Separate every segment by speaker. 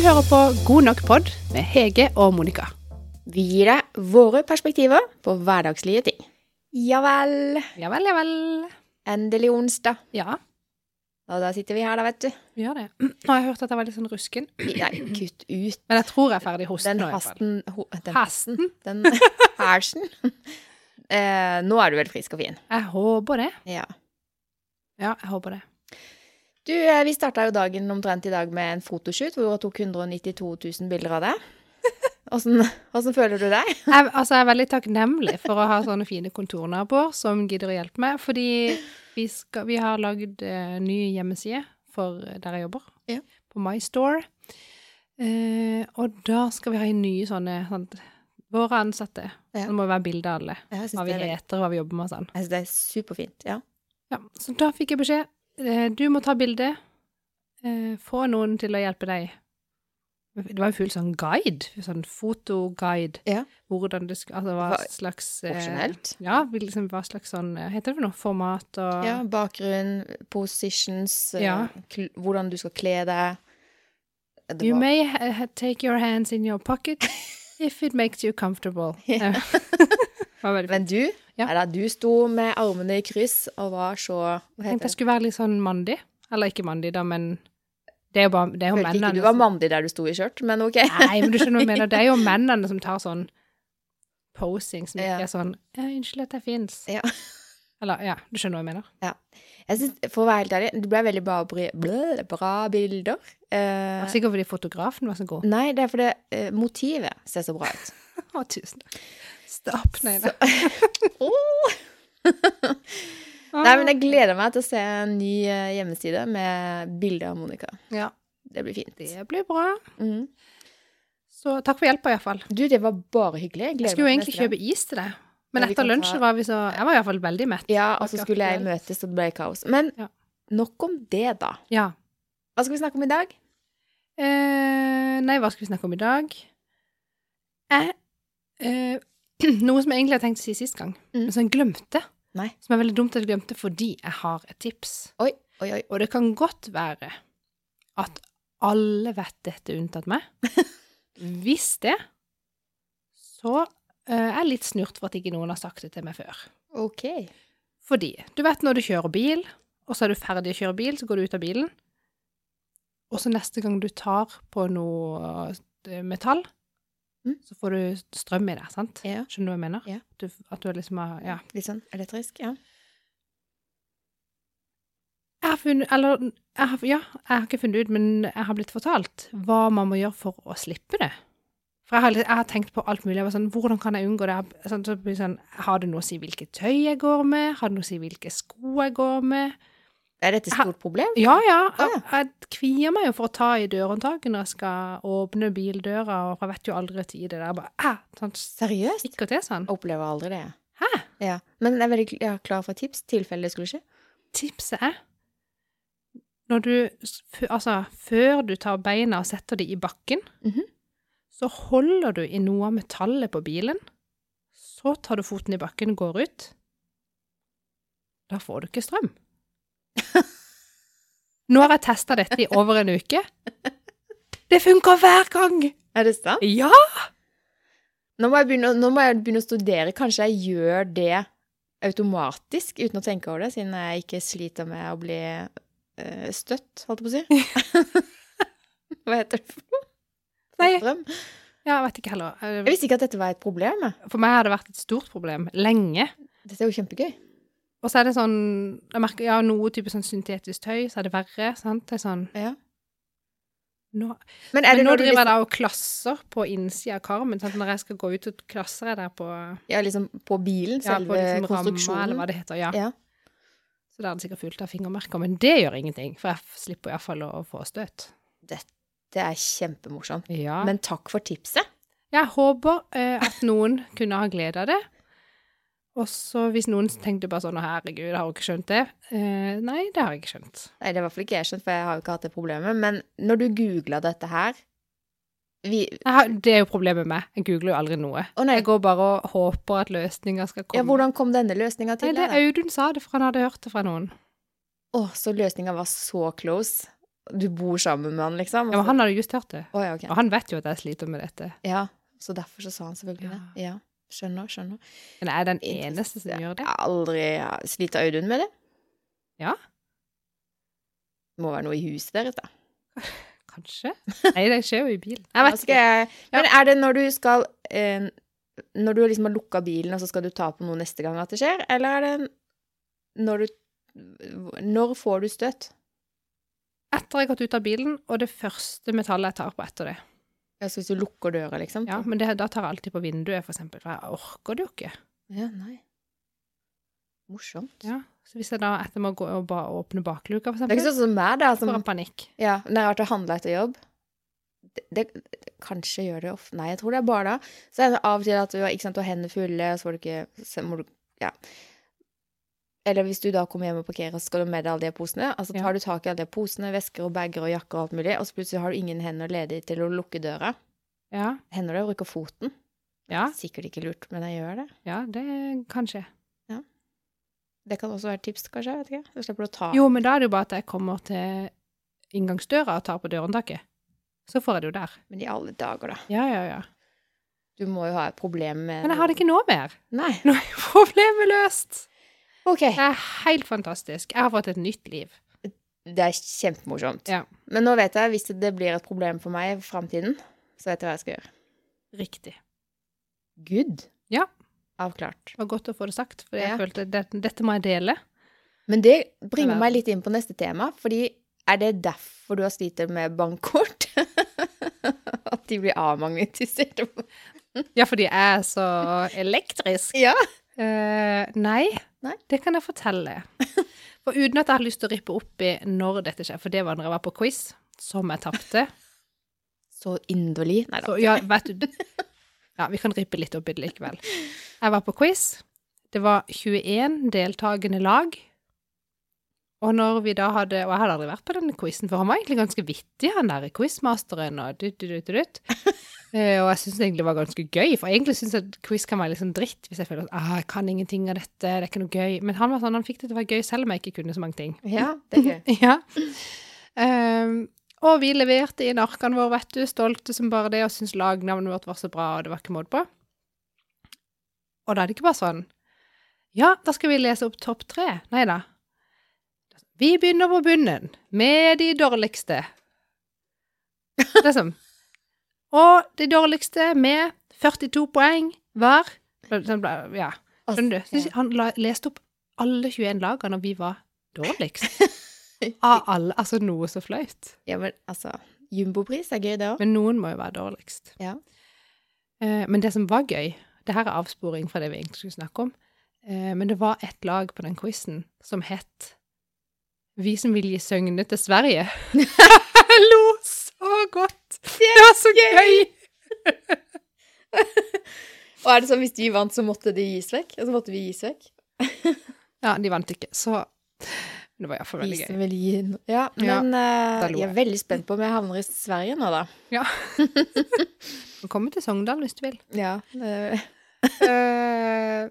Speaker 1: hører på God nok pod med Hege og Monica.
Speaker 2: Vi gir deg våre perspektiver på hverdagslige ting. Ja vel.
Speaker 1: Ja vel, ja vel.
Speaker 2: Endelig onsdag.
Speaker 1: Ja,
Speaker 2: Og da sitter vi her, da, vet du.
Speaker 1: vi gjør det. Nå har jeg hørt at jeg var litt sånn rusken,
Speaker 2: Nei, kutt ut
Speaker 1: men jeg tror jeg er ferdig hosten
Speaker 2: den
Speaker 1: nå i hvert fall.
Speaker 2: hasten ho, Den
Speaker 1: Hasten?
Speaker 2: Den hersen. Eh, nå er du vel frisk og fin.
Speaker 1: Jeg håper det.
Speaker 2: Ja.
Speaker 1: Ja, jeg håper det.
Speaker 2: Du, eh, vi starta jo dagen omtrent i dag med en fotoshoot hvor hun tok 192 000 bilder av deg. Åssen åssen føler du deg?
Speaker 1: Jeg, altså, jeg er veldig takknemlig for å ha sånne fine kontornaboer som gidder å hjelpe meg, fordi vi, skal, vi har lagd eh, ny hjemmeside for eh, der jeg jobber,
Speaker 2: Ja.
Speaker 1: på MyStore. Eh, og da skal vi ha inn nye sånne sant, Våre ansatte.
Speaker 2: Ja.
Speaker 1: Det må være bilde av alle.
Speaker 2: Jeg
Speaker 1: Hva vi heter, og hva vi jobber med og sånn.
Speaker 2: Jeg syns det er superfint. Ja.
Speaker 1: Ja, så da fikk jeg beskjed. eh, Du må ta bilde. eh, Få noen til å hjelpe deg. Det var en full sånn guide, sånn fotoguide.
Speaker 2: Ja.
Speaker 1: Hvordan det skulle Altså hva
Speaker 2: Hva-
Speaker 1: slags eh,
Speaker 2: Profesjonelt.
Speaker 1: Ja, vil liksom hva slags sånn eh, Heter det for noe? Format og
Speaker 2: Ja, bakgrunn, positions, eh,
Speaker 1: Ja.
Speaker 2: kl hvordan du skal kle deg. Det
Speaker 1: You
Speaker 2: var-
Speaker 1: may ha- ha- take your hands in your pocket if it makes you comfortable. Eh,
Speaker 2: Ja.
Speaker 1: var veldig fint.
Speaker 2: Men du,
Speaker 1: Ja.
Speaker 2: eller, du sto med armene i kryss og var så Hva
Speaker 1: Jeg tenkte
Speaker 2: heter
Speaker 1: jeg
Speaker 2: det?
Speaker 1: skulle være litt sånn mandig. Eller ikke mandig, da, men Det er jo bare det er jo
Speaker 2: Følte ikke
Speaker 1: mennene
Speaker 2: du var
Speaker 1: som-
Speaker 2: mandig der du sto i skjørt, men OK.
Speaker 1: Nei, men du skjønner hva jeg mener. Det er jo mennene som tar sånn posing, som ikke
Speaker 2: Ja.
Speaker 1: er sånn «Ja, 'Unnskyld at jeg fins'.
Speaker 2: Ja.
Speaker 1: Eller ja, du skjønner hva jeg mener.
Speaker 2: Jeg synes, for å være helt ærlig, det ble veldig bra, bri- blø, bra bilder.
Speaker 1: Det
Speaker 2: Eh,
Speaker 1: var sikkert fordi fotografen var så god.
Speaker 2: nei, det er fordi eh, motivet ser så bra ut.
Speaker 1: Å, tusen takk. Stopp, nei da.
Speaker 2: Åh! Nei, men jeg gleder meg til å se en ny eh, hjemmeside med bilde av Monica.
Speaker 1: ja,
Speaker 2: Det blir fint.
Speaker 1: det blir bra.
Speaker 2: Mhm.
Speaker 1: Så takk for hjelpa, iallfall.
Speaker 2: Du, det var bare hyggelig. Jeg gleder
Speaker 1: Jeg skulle jo
Speaker 2: meg
Speaker 1: egentlig
Speaker 2: til neste gang.
Speaker 1: kjøpe is til deg, men
Speaker 2: Ja, vi
Speaker 1: etter
Speaker 2: kan
Speaker 1: lunsj
Speaker 2: ta-
Speaker 1: var vi så Jeg var iallfall veldig mett.
Speaker 2: Ja, og så
Speaker 1: Akkurat
Speaker 2: skulle jeg
Speaker 1: aktuelt.
Speaker 2: møtes, og det ble kaos. Men
Speaker 1: Ja.
Speaker 2: nok om det, da.
Speaker 1: Ja.
Speaker 2: Hva skal vi snakke om i dag?
Speaker 1: Eh, nei, hva skal vi snakke om i dag? Jeg eh, Noe som jeg egentlig har tenkt å si sist gang,
Speaker 2: Mm.
Speaker 1: men som jeg glemte.
Speaker 2: Nei.
Speaker 1: Som er veldig dumt at jeg glemte fordi jeg har et tips.
Speaker 2: Oi, oi, oi.
Speaker 1: Og det kan godt være at alle vet dette unntatt meg. Hvis det, så eh, er jeg litt snurt for at ikke noen har sagt det til meg før.
Speaker 2: Ok.
Speaker 1: Fordi du vet når du kjører bil, og så er du ferdig å kjøre bil, så går du ut av bilen, og så neste gang du tar på noe eh, metall,
Speaker 2: Mm.
Speaker 1: så får du strøm i deg, sant?
Speaker 2: Ja.
Speaker 1: Skjønner du hva jeg mener?
Speaker 2: Ja.
Speaker 1: Du, at du liksom har Ja.
Speaker 2: Litt sånn elektrisk, ja.
Speaker 1: Jeg har funnet Eller jeg har, ja, jeg har ikke funnet ut, men jeg har blitt fortalt hva man må gjøre for å slippe det. For jeg har, litt- jeg har tenkt på alt mulig. Jeg var sånn, Hvordan kan jeg unngå det? Jeg- Sånn, så blir det sånn, har det noe å si hvilket tøy jeg går med? Har det noe å si hvilke sko jeg går med?
Speaker 2: Er dette et
Speaker 1: Ha-
Speaker 2: stort problem?
Speaker 1: Ja, ja.
Speaker 2: Å,
Speaker 1: Jeg, jeg kvier meg jo for å ta i dørhåndtaket når jeg skal åpne bildøra, og jeg vet jo aldri tid det der. Bare, ah, sånn,
Speaker 2: Seriøst?
Speaker 1: stikker til sånn.
Speaker 2: Jeg opplever aldri det.
Speaker 1: Hæ?
Speaker 2: Ja. Men jeg er veldig kl- ja, klar for tips, tilfelle det skulle skje.
Speaker 1: Tipset er når du, s- f- altså, før du tar beina og setter de i bakken,
Speaker 2: Mhm.
Speaker 1: så holder du i noe av metallet på bilen, så tar du foten i bakken og går ut. Da får du ikke strøm. Nå har jeg testa dette i over en uke. Det funker hver gang!
Speaker 2: Er det sant?
Speaker 1: Ja!
Speaker 2: Nå må jeg begynne, å- nå må jeg begynne å studere. Kanskje jeg gjør det automatisk uten å tenke over det, siden jeg ikke sliter med å bli eh, støtt, holdt jeg på å si. Hva heter det?
Speaker 1: Nei,
Speaker 2: Strøm?
Speaker 1: ja, jeg vet ikke heller. Eh,
Speaker 2: Jeg visste ikke at dette var et problem. jeg.
Speaker 1: For meg har det vært et stort problem lenge.
Speaker 2: Dette er jo kjempegøy.
Speaker 1: Og så er det sånn Jeg merker ja, noe type sånn syntetisk tøy, så er det verre, sant? Det er sånn
Speaker 2: Ja.
Speaker 1: nå,
Speaker 2: Men er
Speaker 1: Men
Speaker 2: det
Speaker 1: nå
Speaker 2: når du
Speaker 1: driver jeg
Speaker 2: liksom,
Speaker 1: da og klasser på innsida av karmen. Sant? Når jeg skal gå ut, så klasser jeg der på,
Speaker 2: ja, liksom på bilen,
Speaker 1: ja,
Speaker 2: selve
Speaker 1: på liksom ramma,
Speaker 2: konstruksjonen?
Speaker 1: eller hva det heter. Ja.
Speaker 2: Ja.
Speaker 1: Så da er det sikkert fullt av fingermerker. Men det gjør ingenting, for jeg slipper iallfall å få støt.
Speaker 2: Det er kjempemorsomt.
Speaker 1: Ja.
Speaker 2: Men takk for tipset.
Speaker 1: Jeg håper eh, at noen kunne ha glede av det. Og så hvis noen tenkte bare sånn 'Å, herregud, har hun ikke skjønt det?' Eh, nei, det har jeg ikke skjønt.
Speaker 2: Nei, det er i hvert fall ikke jeg skjønt, for jeg har jo ikke hatt det problemet. Men når du googla dette her vi,
Speaker 1: Jeg har, det er jo problemet med meg. Jeg googler jo aldri noe.
Speaker 2: Å nei,
Speaker 1: Jeg går bare og håper at løsninga skal komme.
Speaker 2: ja, hvordan kom denne løsninga
Speaker 1: Nei,
Speaker 2: til?
Speaker 1: det
Speaker 2: deg, da?
Speaker 1: Audun sa det, for han hadde hørt det fra noen.
Speaker 2: Å, så løsninga var så close. Du bor sammen med han, liksom?
Speaker 1: Ja, men
Speaker 2: og så-
Speaker 1: han hadde justert det.
Speaker 2: Å, ja, ok.
Speaker 1: Og han vet jo at jeg sliter med dette.
Speaker 2: ja, så derfor så sa han selvfølgelig
Speaker 1: Ja.
Speaker 2: det. Ja, skjønner, skjønner.
Speaker 1: Men jeg er den
Speaker 2: Interessant,
Speaker 1: eneste som gjør det.
Speaker 2: Jeg har aldri ja. Sliter Audun med det?
Speaker 1: Ja.
Speaker 2: Må være noe i huset deres, da.
Speaker 1: Kanskje? Nei, det skjer jo i bilen. Jeg
Speaker 2: Da
Speaker 1: vet ikke.
Speaker 2: skal jeg- Men er det når du skal eh, Når du liksom har lukka bilen, og så skal du ta på noe neste gang at det skjer, eller er det når du Når får du støt?
Speaker 1: Etter jeg har gått ut av bilen, og det første metallet jeg tar på etter det.
Speaker 2: Altså hvis du lukker døra, liksom?
Speaker 1: Ja, men det, da tar jeg alltid på vinduet, for eksempel, for jeg orker det jo ikke.
Speaker 2: Ja, nei. Morsomt.
Speaker 1: Ja. Så hvis jeg da etter må gå og bare åpne bakluka, for
Speaker 2: Det er
Speaker 1: eksempel,
Speaker 2: ikke sånn som meg, da.
Speaker 1: så får
Speaker 2: Som,
Speaker 1: jeg panikk.
Speaker 2: ja, når jeg har vært og handla etter jobb. Det, det, det, kanskje gjør det ofte Nei, jeg tror det er bare da. Så er det av og til at du har ikke sant, du har hendene fulle, og så får du ikke så må du, Ja. Eller hvis du da kommer hjem og parkerer, så skal du med deg alle de posene. Altså
Speaker 1: Ja.
Speaker 2: tar du tak i alle de posene, vesker og bager og jakker og alt mulig, og så plutselig har du ingen hender ledig til å lukke døra.
Speaker 1: Ja.
Speaker 2: Hender det å bruke foten?
Speaker 1: Ja,
Speaker 2: Sikkert ikke lurt, men jeg gjør det.
Speaker 1: ja, det kan skje.
Speaker 2: Det kan også være et tips, kanskje. jeg vet ikke. Så slipper du å ta
Speaker 1: Jo, men da er det jo bare at jeg kommer til inngangsdøra og tar på dørhåndtaket. Så får jeg det jo der.
Speaker 2: Men i alle dager, da.
Speaker 1: Ja, ja, ja.
Speaker 2: Du må jo ha et problem med
Speaker 1: Men jeg har det ikke nå mer.
Speaker 2: Nei.
Speaker 1: Nå er jo problemet løst.
Speaker 2: OK.
Speaker 1: Det er helt fantastisk. Jeg har fått et nytt liv.
Speaker 2: Det er kjempemorsomt.
Speaker 1: Ja.
Speaker 2: Men nå vet jeg, hvis det blir et problem for meg i framtiden, så vet jeg hva jeg skal gjøre.
Speaker 1: Riktig.
Speaker 2: Good.
Speaker 1: Ja.
Speaker 2: Avklart.
Speaker 1: Det var godt å få det sagt, for jeg
Speaker 2: Ja.
Speaker 1: følte at det, dette må jeg dele.
Speaker 2: Men det bringer
Speaker 1: Det er-
Speaker 2: meg litt inn på neste tema, fordi er det derfor du har slitt med bankkort? At de blir avmagnetisert?
Speaker 1: Ja, fordi jeg er så elektrisk.
Speaker 2: Ja.
Speaker 1: Eh, nei,
Speaker 2: Nei.
Speaker 1: det kan jeg fortelle. For uten at jeg har lyst til å rippe opp i når dette skjer, for det var når jeg var på quiz, som jeg tapte.
Speaker 2: Så inderlig. Nei da.
Speaker 1: Så ja, vet du Ja, vi kan rippe litt opp i det likevel. Jeg var på quiz. Det var 21 deltakende lag. Og når vi da hadde Og jeg hadde aldri vært på denne quizen før. Han var egentlig ganske vittig, han der quizmasteren, og dutt, dutt, dutt, dutt. Eh, Og jeg syns det egentlig var ganske gøy, for egentlig syns jeg at quiz kan være litt sånn dritt hvis jeg føler at ah, jeg kan ingenting av dette, det er ikke noe gøy. Men han var sånn, han fikk det til å være gøy selv om jeg ikke kunne så mange ting.
Speaker 2: Ja, det er gøy.
Speaker 1: Ja. Ehm, og vi leverte inn arkene våre, vet du, stolte som bare det, og syntes lagnavnet vårt var så bra, og det var ikke måte på. Og da er det ikke bare sånn Ja, da skal vi lese opp topp tre. Nei da. Vi begynner på bunnen, med de dårligste. Liksom. Og de dårligste med 42 poeng hver. Sånn ble- Ja. Skjønner du?
Speaker 2: Altså,
Speaker 1: Så han la, leste opp alle 21 lagene, og vi var dårligst. Av alle. Altså noe så flaut.
Speaker 2: ja, men altså Jumbopris er gøy, det òg.
Speaker 1: Men noen må jo være dårligst.
Speaker 2: Ja.
Speaker 1: Eh, men det som var gøy Det her er avsporing fra det vi egentlig skulle snakke om. Eh, men det var et lag på den quizen som het Vi som vil gi søgne til Sverige. Jeg lo så godt! Det var så gøy!
Speaker 2: Og er det sånn hvis de vant, så måtte de gis vekk? Og så måtte vi gis vekk?
Speaker 1: Ja, de vant ikke, så Men det var iallfall veldig
Speaker 2: Isen
Speaker 1: gøy.
Speaker 2: vil gi no- Ja,
Speaker 1: Ja,
Speaker 2: men eh,
Speaker 1: da lo
Speaker 2: jeg er
Speaker 1: jeg.
Speaker 2: veldig spent på om jeg havner i Sverige nå, da.
Speaker 1: Kom til Sogndal hvis du vil.
Speaker 2: Ja, eh,
Speaker 1: Eh,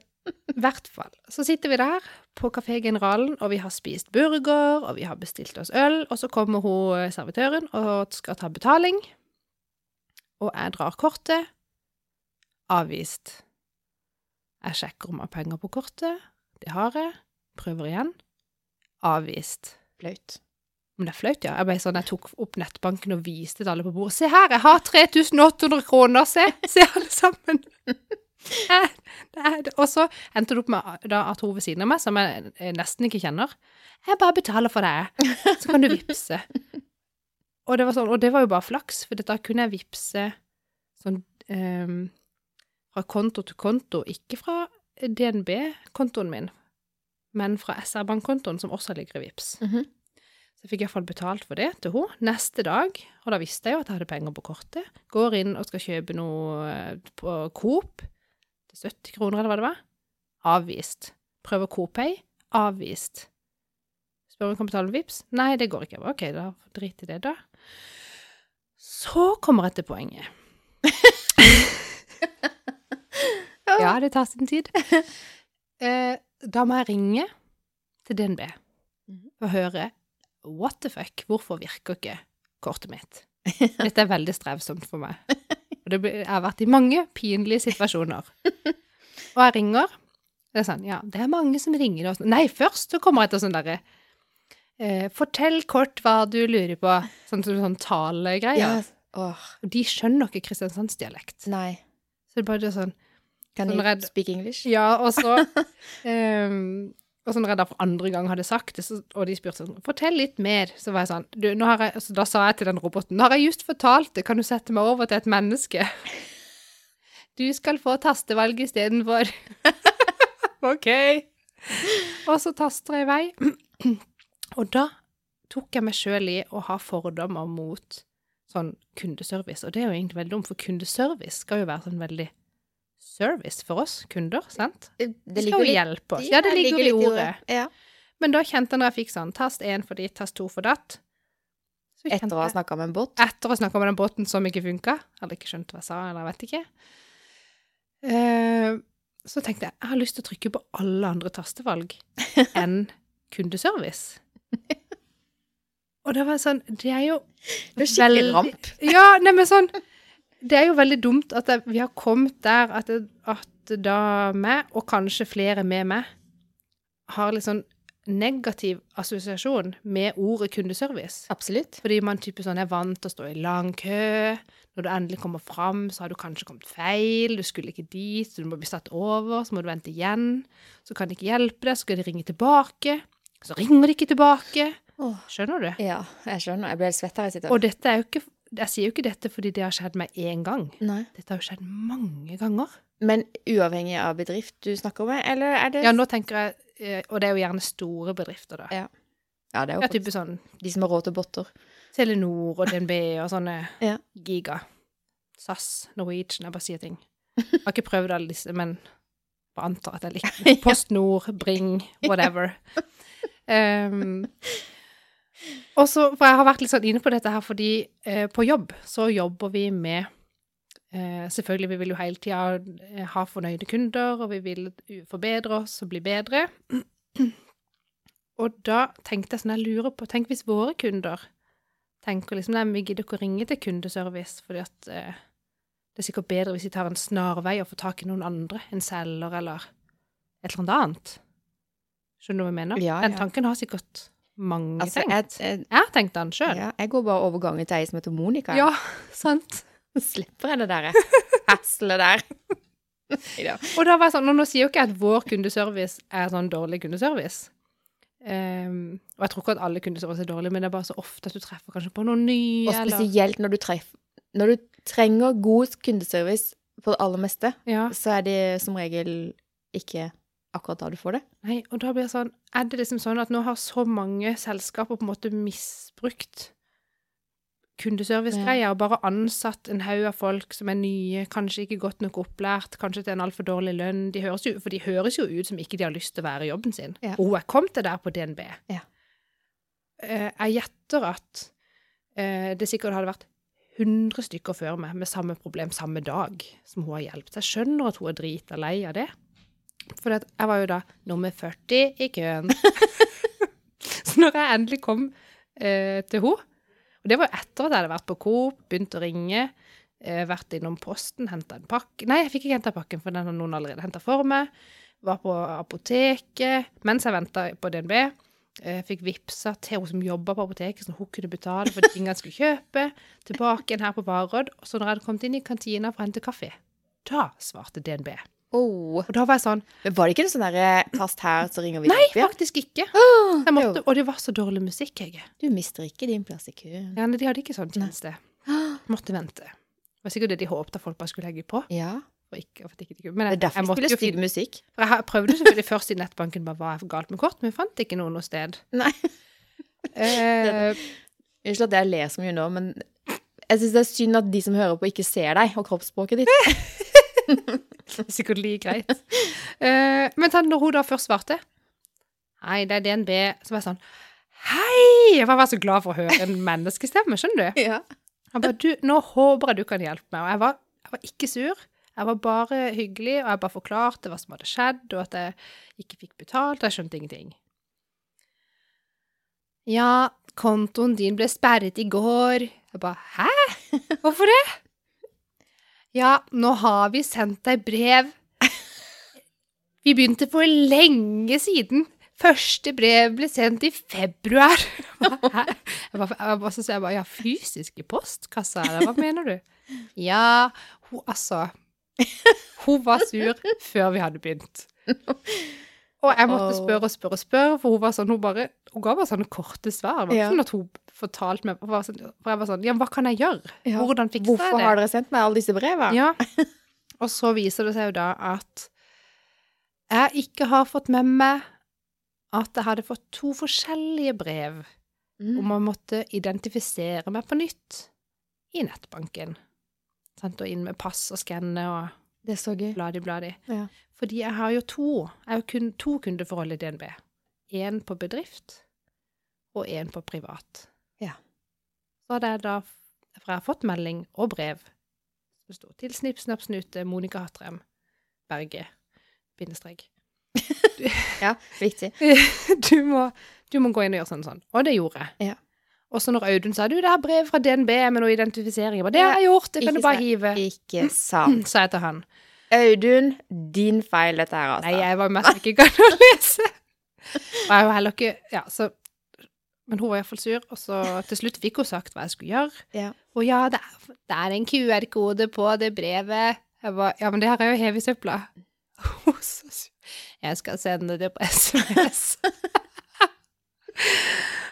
Speaker 1: hvert fall. Så sitter vi der på Kafé Generalen, og vi har spist burger, og vi har bestilt oss øl, og så kommer hun eh, servitøren og skal ta betaling. Og jeg drar kortet. Avvist. Jeg sjekker om jeg har penger på kortet. Det har jeg. Prøver igjen. Avvist.
Speaker 2: flaut.
Speaker 1: Men det er flaut, ja. Jeg ble sånn, jeg tok opp nettbanken og viste til alle på bordet. Se her, jeg har 3800 kroner, se! Se, alle sammen! Jeg- det er det. Og så endte det opp med da at hun ved siden av meg, som jeg eh, nesten ikke kjenner, jeg bare betaler for deg, så kan du vippse. Og det var, sånn, og det var jo bare flaks, for da kunne jeg vippse sånn ehm, fra konto til konto, ikke fra DNB-kontoen min, men fra SR-bankkontoen, som også ligger i Vips.
Speaker 2: Mhm.
Speaker 1: Så jeg fikk iallfall betalt for det til henne neste dag, og da visste jeg jo at jeg hadde penger på kortet. Går inn og skal kjøpe noe eh, på Coop til 70 kroner, eller hva det var. Avvist. Prøver Coop-pay. Avvist. Spør om jeg kan betale med Vipps. Nei, det går ikke. Jeg bare, Ok, da drit i det, da. Så kommer jeg til poenget. ja, det tar sin tid. Mhm. Eh, da må jeg ringe til DNB og høre What the fuck? Hvorfor virker ikke kortet mitt? Dette er veldig strevsomt for meg. Og det blir, jeg har vært i mange pinlige situasjoner. Og jeg ringer. Det er sånn, ja, det er mange som ringer. Og sånn. Nei, først så kommer jeg til sånn derre eh, Fortell kort hva du lurer på. Sånn, sånn, sånn talegreier.
Speaker 2: Åh,
Speaker 1: Og de skjønner ikke kristiansandsdialekt.
Speaker 2: nei.
Speaker 1: Så det er bare det sånn
Speaker 2: Kan
Speaker 1: Sånn
Speaker 2: you
Speaker 1: redd.
Speaker 2: speak English?
Speaker 1: Ja, og så ehm, Og så når jeg da for andre gang hadde sagt det, så, og de spurte sånn Fortell litt mer. Så var jeg sånn du, nå har jeg, Så da sa jeg til den roboten Nå har jeg just fortalt det, kan du sette meg over til et menneske? Du skal få tastevalg istedenfor. OK.
Speaker 2: Eh,
Speaker 1: Og så taster jeg i vei. Og da tok jeg meg sjøl i å ha fordommer mot sånn kundeservice. Og det er jo egentlig veldig dumt, for kundeservice skal jo være sånn veldig service for oss kunder, sant?
Speaker 2: Det
Speaker 1: skal jo hjelpe oss. Ja, det ligger i ordet.
Speaker 2: Ja.
Speaker 1: Men da kjente jeg når jeg fikk sånn tast én for ditt, tast to for datt så kjente
Speaker 2: Etter å ha
Speaker 1: jeg-
Speaker 2: snakka med en bot.
Speaker 1: Etter å ha snakka med den båten som ikke funka, eller ikke skjønte hva jeg sa, eller jeg vet ikke Eh, Så tenkte jeg jeg har lyst til å trykke på alle andre tastevalg enn kundeservice. Og det var jeg sånn Det er jo
Speaker 2: Det er skikkelig
Speaker 1: veldig-
Speaker 2: ramp.
Speaker 1: ja, nei, men sånn Det er jo veldig dumt at jeg, vi har kommet der at, det- at da meg, og kanskje flere med meg, har litt sånn negativ assosiasjon med ordet kundeservice.
Speaker 2: Absolutt.
Speaker 1: Fordi man type sånn er vant til å stå i lang kø. Når du endelig kommer fram, så har du kanskje kommet feil, du skulle ikke dit, så du må bli satt over, så må du vente igjen. Så kan de ikke hjelpe deg, så skal de ringe tilbake. Så ringer de ikke tilbake. Skjønner du?
Speaker 2: Ja, jeg skjønner. Jeg ble helt svett her jeg sitter.
Speaker 1: Og dette er jo ikke Jeg sier jo ikke dette fordi det har skjedd meg én gang.
Speaker 2: Nei.
Speaker 1: Dette har jo skjedd mange ganger.
Speaker 2: Men uavhengig av bedrift du snakker med, eller er det
Speaker 1: Ja, nå tenker jeg eh, Og det er jo gjerne store bedrifter, da.
Speaker 2: Ja, Ja, det er jo
Speaker 1: Ja,
Speaker 2: godt.
Speaker 1: type sånn
Speaker 2: de som har råd til botter.
Speaker 1: Telenor og DNB og sånne
Speaker 2: Ja.
Speaker 1: giga. SAS, Norwegian, jeg bare sier ting. Jeg har ikke prøvd alle disse, men bare antar at jeg liker dem. Post Nord, Bring, whatever. Um, og så, for jeg har vært litt sånn inne på dette her, fordi eh, på jobb så jobber vi med eh, Selvfølgelig, vi vil jo hele tida eh, ha fornøyde kunder, og vi vil u- forbedre oss og bli bedre. Og da tenkte jeg sånn, jeg lurer på Tenk hvis våre kunder tenker liksom Nei, men vi gidder ikke å ringe til kundeservice, fordi at eh, det er sikkert bedre hvis de tar en snarvei og får tak i noen andre, en selger eller et eller annet annet. Skjønner du hva jeg mener?
Speaker 2: Ja,
Speaker 1: Den
Speaker 2: ja.
Speaker 1: tanken har sikkert mange
Speaker 2: Altså,
Speaker 1: tenkt.
Speaker 2: jeg, jeg,
Speaker 1: Jeg har tenkt den sjøl.
Speaker 2: ja, jeg går bare over gangen til ei som heter Monica.
Speaker 1: Ja, sant.
Speaker 2: Slipper jeg det der heslet der. Neida.
Speaker 1: Og da var jeg sånn, og nå sier jo ikke jeg at vår kundeservice er sånn dårlig kundeservice. Ehm, og jeg tror ikke at alle kundeservice er dårlig, men det er bare så ofte at du treffer kanskje på noen nye.
Speaker 2: Og spesielt når du, treff, når du trenger god kundeservice på det aller meste,
Speaker 1: eller, ja.
Speaker 2: så er det som regel ikke akkurat da du får det.
Speaker 1: Nei, og da blir det sånn, er det liksom sånn at nå har så mange selskaper på en måte misbrukt kundeservice-greier, og bare ansatt en haug av folk som er nye, kanskje ikke godt nok opplært, kanskje til en altfor dårlig lønn, de høres jo, for de høres jo ut som ikke de har lyst til å være i jobben sin.
Speaker 2: Ja.
Speaker 1: Og jeg kom til der på DNB.
Speaker 2: Ja.
Speaker 1: Eh, Jeg gjetter at eh, det sikkert hadde vært 100 stykker før meg med samme problem samme dag som hun har hjulpet. Jeg skjønner at hun er drita lei av det. For at jeg var jo da nummer 40 i køen. så når jeg endelig kom eh, til henne, og det var jo etter at jeg hadde vært på Coop, begynt å ringe, eh, vært innom posten, henta en pakke Nei, jeg fikk ikke henta pakken, for den har noen allerede henta for meg. Var på apoteket mens jeg venta på DNB. Eh, fikk vippsa til hun som jobba på apoteket, sånn at hun kunne betale for de tingene jeg skulle kjøpe. Tilbake igjen her på Varodd. Og så når jeg hadde kommet inn i kantina for å hente kaffe, da svarte DNB.
Speaker 2: Oh.
Speaker 1: Og da var jeg sånn
Speaker 2: Men var det ikke en sånn derre kast her, så ringer vi
Speaker 1: Nei,
Speaker 2: opp igjen?
Speaker 1: faktisk ikke.
Speaker 2: Åh,
Speaker 1: Jeg måtte, og det var så dårlig musikk, jeg.
Speaker 2: jo. Du mister ikke din plass i køen.
Speaker 1: Gjerne, de hadde ikke sånn tjeneste. Måtte vente. Det var sikkert det de håpet at folk bare skulle legge på.
Speaker 2: Ja.
Speaker 1: Og ikke, for at ikke de kunne- Men
Speaker 2: Det
Speaker 1: jeg,
Speaker 2: er
Speaker 1: jeg
Speaker 2: derfor vi
Speaker 1: måtte
Speaker 2: spiller
Speaker 1: jo
Speaker 2: stygg
Speaker 1: finne
Speaker 2: musikk.
Speaker 1: for Jeg har- prøvde selvfølgelig først i nettbanken bare hva er galt med kort, men jeg fant ikke noe noe sted.
Speaker 2: Nei.
Speaker 1: Eh,
Speaker 2: Unnskyld at jeg ler så mye nå, men jeg syns det er synd at de som hører på, ikke ser deg og kroppsspråket ditt.
Speaker 1: sikkert like greit. Eh, men ta- når hun da først svarte Nei, det er DNB. Så var jeg sånn Hei! Jeg var bare så glad for å høre en menneskestemme, skjønner du.
Speaker 2: Ja.
Speaker 1: Han bare, du, nå håper jeg du kan hjelpe meg. Og jeg var, jeg var ikke sur. Jeg var bare hyggelig, og jeg bare forklarte hva som hadde skjedd, og at jeg ikke fikk betalt. og Jeg skjønte ingenting. Ja, kontoen din ble sperret i går. Jeg bare Hæ? Hvorfor det? Ja, nå har vi sendt deg brev. Vi begynte for lenge siden. Første brev ble sendt i februar. Jeg bare, Hæ? Jeg bare, jeg bare, så sa jeg bare Ja, fysisk i postkassa? Eller hva mener du? Ja, hun altså Hun var sur før vi hadde begynt. Og jeg måtte
Speaker 2: Åh.
Speaker 1: spørre og spørre og spørre, for hun var sånn, hun bare, hun ga bare sånne korte svar. Det var ikke
Speaker 2: Ja.
Speaker 1: sånn at hun fortalte meg, for jeg var sånn, for jeg var sånn, ja, men hva kan jeg gjøre?
Speaker 2: Ja.
Speaker 1: Hvordan fikser
Speaker 2: Hvorfor
Speaker 1: jeg det?
Speaker 2: har dere sendt meg alle disse brevene?
Speaker 1: Ja. Og så viser det seg jo da at jeg ikke har fått med meg at jeg hadde fått to forskjellige brev
Speaker 2: Mm.
Speaker 1: om å måtte identifisere meg på nytt i nettbanken. Sendt og inn med pass og skanne og
Speaker 2: Det er så gøy.
Speaker 1: bladi-bladi.
Speaker 2: Ja.
Speaker 1: Fordi jeg har jo to. Jeg har jo kun to kundeforhold i DNB. Én på bedrift og én på privat.
Speaker 2: Ja.
Speaker 1: Så hadde jeg da, for jeg har fått melding og brev, som sto til Snipp, Snapp, Snute, Monica Hatrem, Berge, bindestrek.
Speaker 2: ja, viktig.
Speaker 1: Du må, du må gå inn og gjøre sånn og sånn. Og det gjorde jeg.
Speaker 2: Ja.
Speaker 1: Og så når Audun sa du, det er brev fra DNB med noe identifisering, jeg bare, det har jeg gjort, det
Speaker 2: Ikke
Speaker 1: kan du bare
Speaker 2: sant.
Speaker 1: hive,
Speaker 2: Ikke sant.
Speaker 1: sa jeg til han.
Speaker 2: Audun, din feil dette her, altså.
Speaker 1: Nei, jeg var mest ikke gadd å lese. Og jeg var heller ikke Ja, så Men hun var iallfall sur, og så til slutt fikk hun sagt hva jeg skulle gjøre.
Speaker 2: Ja.
Speaker 1: Og ja, det er, det er en QR-kode på det brevet. Jeg var Ja, men det har jeg jo hevet i søpla. Hun var så sur. Jeg skal sende det på SMS.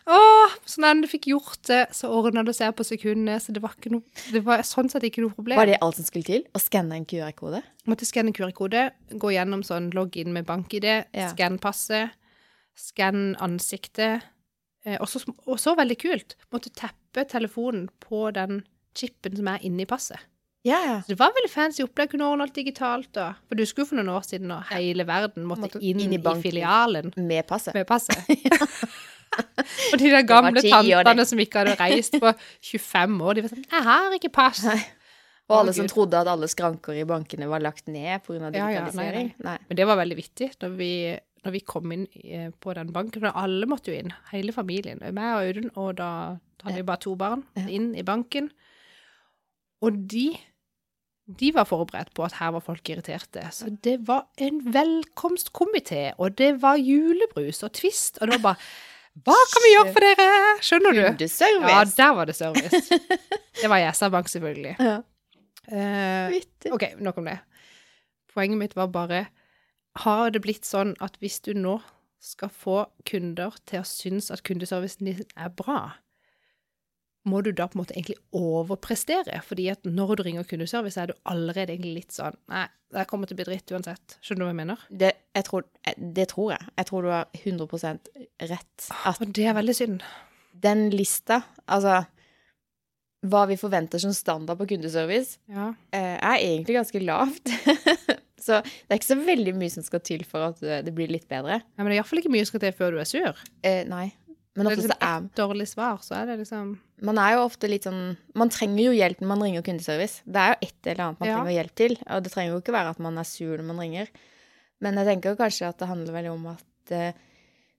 Speaker 1: Åh, så når du fikk gjort det, så ordna det seg på sekundene. Så det var, ikke noe, det var sånn sett ikke noe problem.
Speaker 2: Var det alt som skulle til? Å skanne en QR-kode?
Speaker 1: Måtte skanne QR-kode, gå gjennom sånn logg inn med bank-ID,
Speaker 2: Ja.
Speaker 1: skann passet, skann ansiktet. Eh, og så sm- og så veldig kult, måtte teppe telefonen på den chipen som er inni passet.
Speaker 2: Ja, ja.
Speaker 1: Så det var veldig fancy opplegg, kunne ordne alt digitalt da. For du skulle for noen år siden, og hele verden måtte,
Speaker 2: Måtte
Speaker 1: inn,
Speaker 2: inn i
Speaker 1: i,
Speaker 2: banken.
Speaker 1: filialen
Speaker 2: Med passet.
Speaker 1: med passet. og de der gamle
Speaker 2: ti år, det.
Speaker 1: tantene som ikke hadde reist på 25 år, de var sånn, jeg har ikke pass.
Speaker 2: Og alle
Speaker 1: Å,
Speaker 2: som
Speaker 1: Gud.
Speaker 2: trodde at alle skranker i bankene var lagt ned pga.
Speaker 1: Ja, ja, nei,
Speaker 2: digitalisering. nei.
Speaker 1: Men det var veldig vittig når vi, når vi kom inn eh, på den banken. For alle måtte jo inn, hele familien. Meg og Audun, og da hadde vi bare to barn,
Speaker 2: Ja.
Speaker 1: inn i banken. Og de, de var forberedt på at her var folk irriterte. Så det var en velkomstkomité, og det var julebrus og twist, og det var bare Hva kan vi gjøre for dere? Skjønner du? Ja,
Speaker 2: Kundeservice!
Speaker 1: der var det service. Det var Jæsa Bank, selvfølgelig.
Speaker 2: Ja.
Speaker 1: Eh,
Speaker 2: Vittig.
Speaker 1: Ok, nok om det. Poenget mitt var bare Har det blitt sånn at hvis du nå skal få kunder til å synes at kundeservicen din er bra, må du da på en måte egentlig overprestere? Fordi at når du ringer kundeservice, er du allerede egentlig litt sånn Nei, det her kommer til å bli dritt uansett. Skjønner du hva jeg mener?
Speaker 2: Det, jeg tror, det tror jeg. Jeg tror du har 100 rett. At
Speaker 1: Og det er veldig synd.
Speaker 2: den lista, altså Hva vi forventer som standard på kundeservice,
Speaker 1: Ja.
Speaker 2: eh, er egentlig ganske lavt. så det er ikke så veldig mye som skal til for at eh, det blir litt bedre.
Speaker 1: Nei, men det er iallfall ikke mye som skal til før du er sur.
Speaker 2: Eh, nei.
Speaker 1: Det
Speaker 2: Men
Speaker 1: er
Speaker 2: ofte så
Speaker 1: liksom
Speaker 2: er
Speaker 1: ett dårlig svar, så er det liksom
Speaker 2: man er jo ofte litt sånn Man trenger jo hjelp når man ringer kundeservice. Det er jo et eller annet man
Speaker 1: Ja.
Speaker 2: trenger hjelp til. Og det trenger jo ikke være at man er sur når man ringer. Men jeg tenker jo kanskje at det handler veldig om at eh,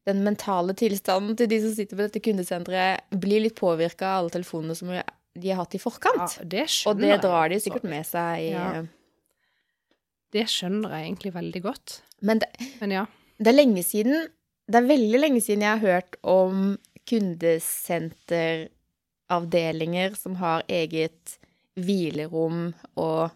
Speaker 2: den mentale tilstanden til de som sitter på dette kundesenteret, blir litt påvirka av alle telefonene som de har hatt i
Speaker 1: ja,
Speaker 2: forkant.
Speaker 1: Det
Speaker 2: og
Speaker 1: skjønner
Speaker 2: det
Speaker 1: jeg.
Speaker 2: drar de
Speaker 1: altså.
Speaker 2: sikkert med seg i eh,
Speaker 1: Ja. Det skjønner jeg egentlig veldig godt.
Speaker 2: Men det,
Speaker 1: Men ja.
Speaker 2: det er lenge siden Det er veldig lenge siden jeg har hørt om kundesenteravdelinger som har eget hvilerom og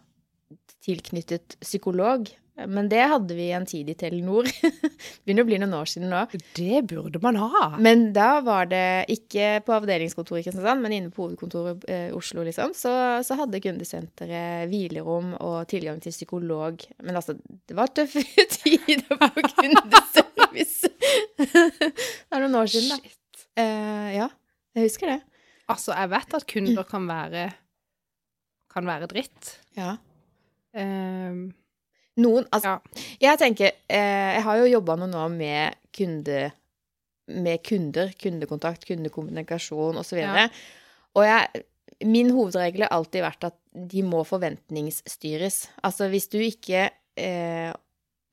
Speaker 2: tilknyttet psykolog. Men det hadde vi en tid i Telenor. Det Begynner å bli noen år siden nå.
Speaker 1: Det burde man ha.
Speaker 2: Men da var det ikke på avdelingskontoret i Kristiansand, men inne på hovedkontoret i eh, Oslo, liksom. Så, så hadde kundesenteret hvilerom og tilgang til psykolog. Men altså, det var tøffe tider på kundeservice. det er noen år siden, da.
Speaker 1: Shit.
Speaker 2: Eh, ja, jeg husker det.
Speaker 1: Altså, jeg vet at kunder kan være kan være dritt.
Speaker 2: Ja.
Speaker 1: Ehm,
Speaker 2: Noen, altså,
Speaker 1: Ja.
Speaker 2: jeg tenker, eh, jeg har jo jobba noen år med, kunde, med kunder, kundekontakt, kundekommunikasjon osv. videre.
Speaker 1: Ja.
Speaker 2: Og jeg, min hovedregel har alltid vært at de må forventningsstyres. Altså hvis du ikke eh,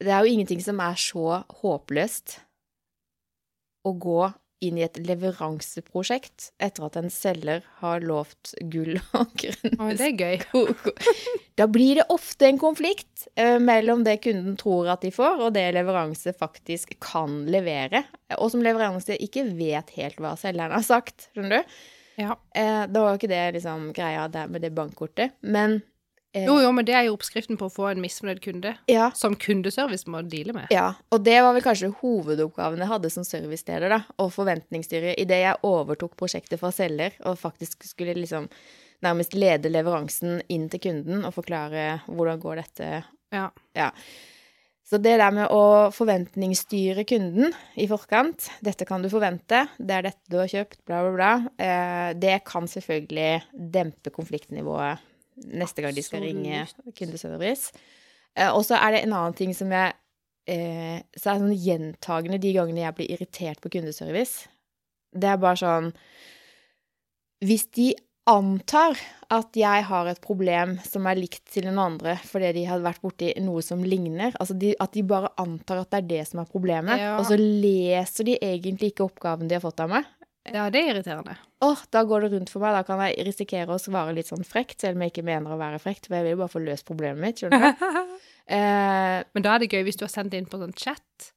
Speaker 2: Det er jo ingenting som er så håpløst å gå inn i et leveranseprosjekt etter at en selger har lovt gull og grønne
Speaker 1: Å, det er gøy.
Speaker 2: Koko. Da blir det ofte en konflikt eh, mellom det kunden tror at de får, og det leveranse faktisk kan levere. Og som leveranse ikke vet helt hva selgeren har sagt, skjønner du.
Speaker 1: Ja.
Speaker 2: Eh, da var jo ikke det liksom, greia der med det bankkortet. Men eh,
Speaker 1: Jo, jo, men det er jo oppskriften på å få en misfornøyd kunde,
Speaker 2: ja,
Speaker 1: som kundeservice må deale med.
Speaker 2: Ja, og det var vel kanskje hovedoppgaven jeg hadde som serviceleder, da, og forventningsstyret, idet jeg overtok prosjektet fra selger og faktisk skulle liksom nærmest lede leveransen inn til kunden og forklare hvordan går dette
Speaker 1: Ja.
Speaker 2: Ja. Så det der med å forventningsstyre kunden i forkant, dette kan du forvente, det er dette du har kjøpt, bla, bla, bla, eh, det kan selvfølgelig dempe konfliktnivået neste gang de skal ringe
Speaker 1: Absolutt.
Speaker 2: kundeservice. Eh, Og så er det en annen ting som jeg eh, Så er det sånn gjentagende de gangene jeg blir irritert på kundeservice. Det er bare sånn Hvis de antar at jeg har et problem som er likt til den andre fordi de har vært borti noe som ligner, altså de, at de bare antar at det er det som er problemet,
Speaker 1: Ja.
Speaker 2: og så leser de egentlig ikke oppgaven de har fått av meg
Speaker 1: ja, det er irriterende.
Speaker 2: åh, da går det rundt for meg, da kan jeg risikere å svare litt sånn frekt, selv om jeg ikke mener å være frekt, for jeg vil jo bare få løst problemet mitt, skjønner du? Eh,
Speaker 1: Men da er det gøy hvis du har sendt det inn på sånn chat,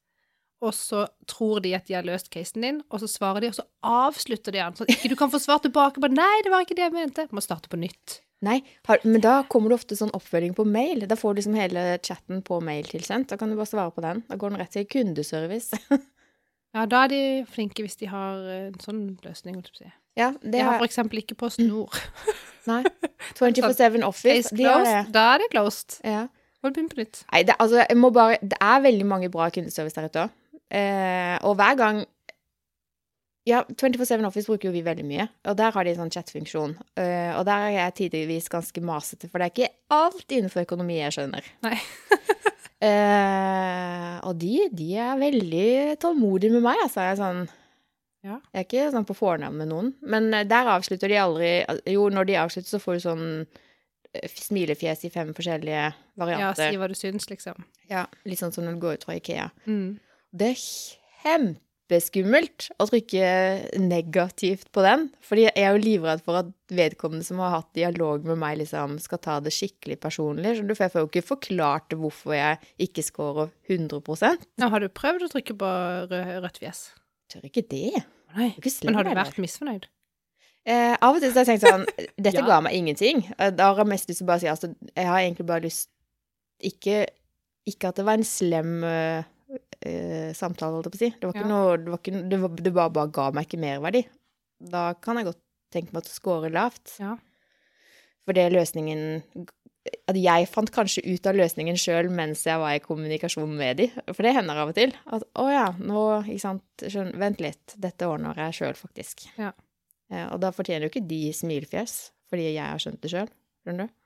Speaker 1: og så tror de at de har løst casen din, og så svarer de, og så avslutter de den. Så ikke du kan få svar tilbake på 'nei, det var ikke det jeg mente'. Må starte på nytt.
Speaker 2: nei, har, men da kommer det ofte sånn oppfølging på mail, da får du liksom hele chatten på mail tilsendt, da kan du bare svare på den, da går den rett til kundeservice.
Speaker 1: Ja, da er de flinke hvis de har eh, en sånn løsning, holdt jeg på å si.
Speaker 2: ja,
Speaker 1: De
Speaker 2: det
Speaker 1: har sånn
Speaker 2: har,
Speaker 1: for eksempel ikke på snor.
Speaker 2: nei, 24-7
Speaker 1: Case
Speaker 2: Office, de har det.
Speaker 1: closed. Da er det closed.
Speaker 2: Ja.
Speaker 1: Må du begynne på nytt.
Speaker 2: Nei, det, altså, jeg må bare, det er veldig mange bra kundeservice der ute òg. Eh, og hver gang Ja, 24-7 Office bruker jo vi veldig mye, og der har de en sånn chatfunksjon. Eh, og der er jeg tidvis ganske masete, for det er ikke alt innenfor økonomi jeg skjønner.
Speaker 1: Nei.
Speaker 2: eh, og de, de er veldig tålmodige med meg, altså. Jeg er sånn
Speaker 1: Ja.
Speaker 2: Jeg er ikke sånn på fornavn med noen, men eh, der avslutter de aldri Jo, når de avslutter, så får du sånn eh, smilefjes i fem forskjellige
Speaker 1: Ja,
Speaker 2: varianter.
Speaker 1: si hva du syns, liksom.
Speaker 2: Ja, litt sånn som når du går ut fra Ikea.
Speaker 1: Mm.
Speaker 2: Det er kjempeskummelt å trykke negativt på den, fordi jeg er jo livredd for at vedkommende som har hatt dialog med meg, liksom, skal ta det skikkelig personlig, skjønner du, for jeg får jo ikke forklart hvorfor jeg ikke scorer 100
Speaker 1: Nå har du prøvd å trykke på rød, rødt fjes.
Speaker 2: Tør ikke det.
Speaker 1: Nei.
Speaker 2: Jeg er ikke slem,
Speaker 1: Men har du
Speaker 2: eller?
Speaker 1: vært misfornøyd?
Speaker 2: Eh, av og til så har jeg tenkt sånn, dette
Speaker 1: Ja.
Speaker 2: ga meg ingenting. Eh, Da har jeg mest lyst til å bare si, altså, jeg har egentlig bare lyst, ikke, ikke at det var en slem eh, eh, samtale, holdt jeg på å si. Det var ikke
Speaker 1: Ja.
Speaker 2: noe, det var ikke, noe- det, var, det bare, bare ga meg ikke merverdi. Da kan jeg godt tenke meg å score lavt.
Speaker 1: Ja.
Speaker 2: For det løsningen, at jeg fant kanskje ut av løsningen sjøl mens jeg var i kommunikasjon med de, for det hender av og til. At å ja, nå, ikke sant, skjønn, vent litt, dette ordner jeg sjøl faktisk.
Speaker 1: Ja.
Speaker 2: Eh, Og da fortjener jo ikke de smilefjes, fordi jeg har skjønt det sjøl, skjønner du?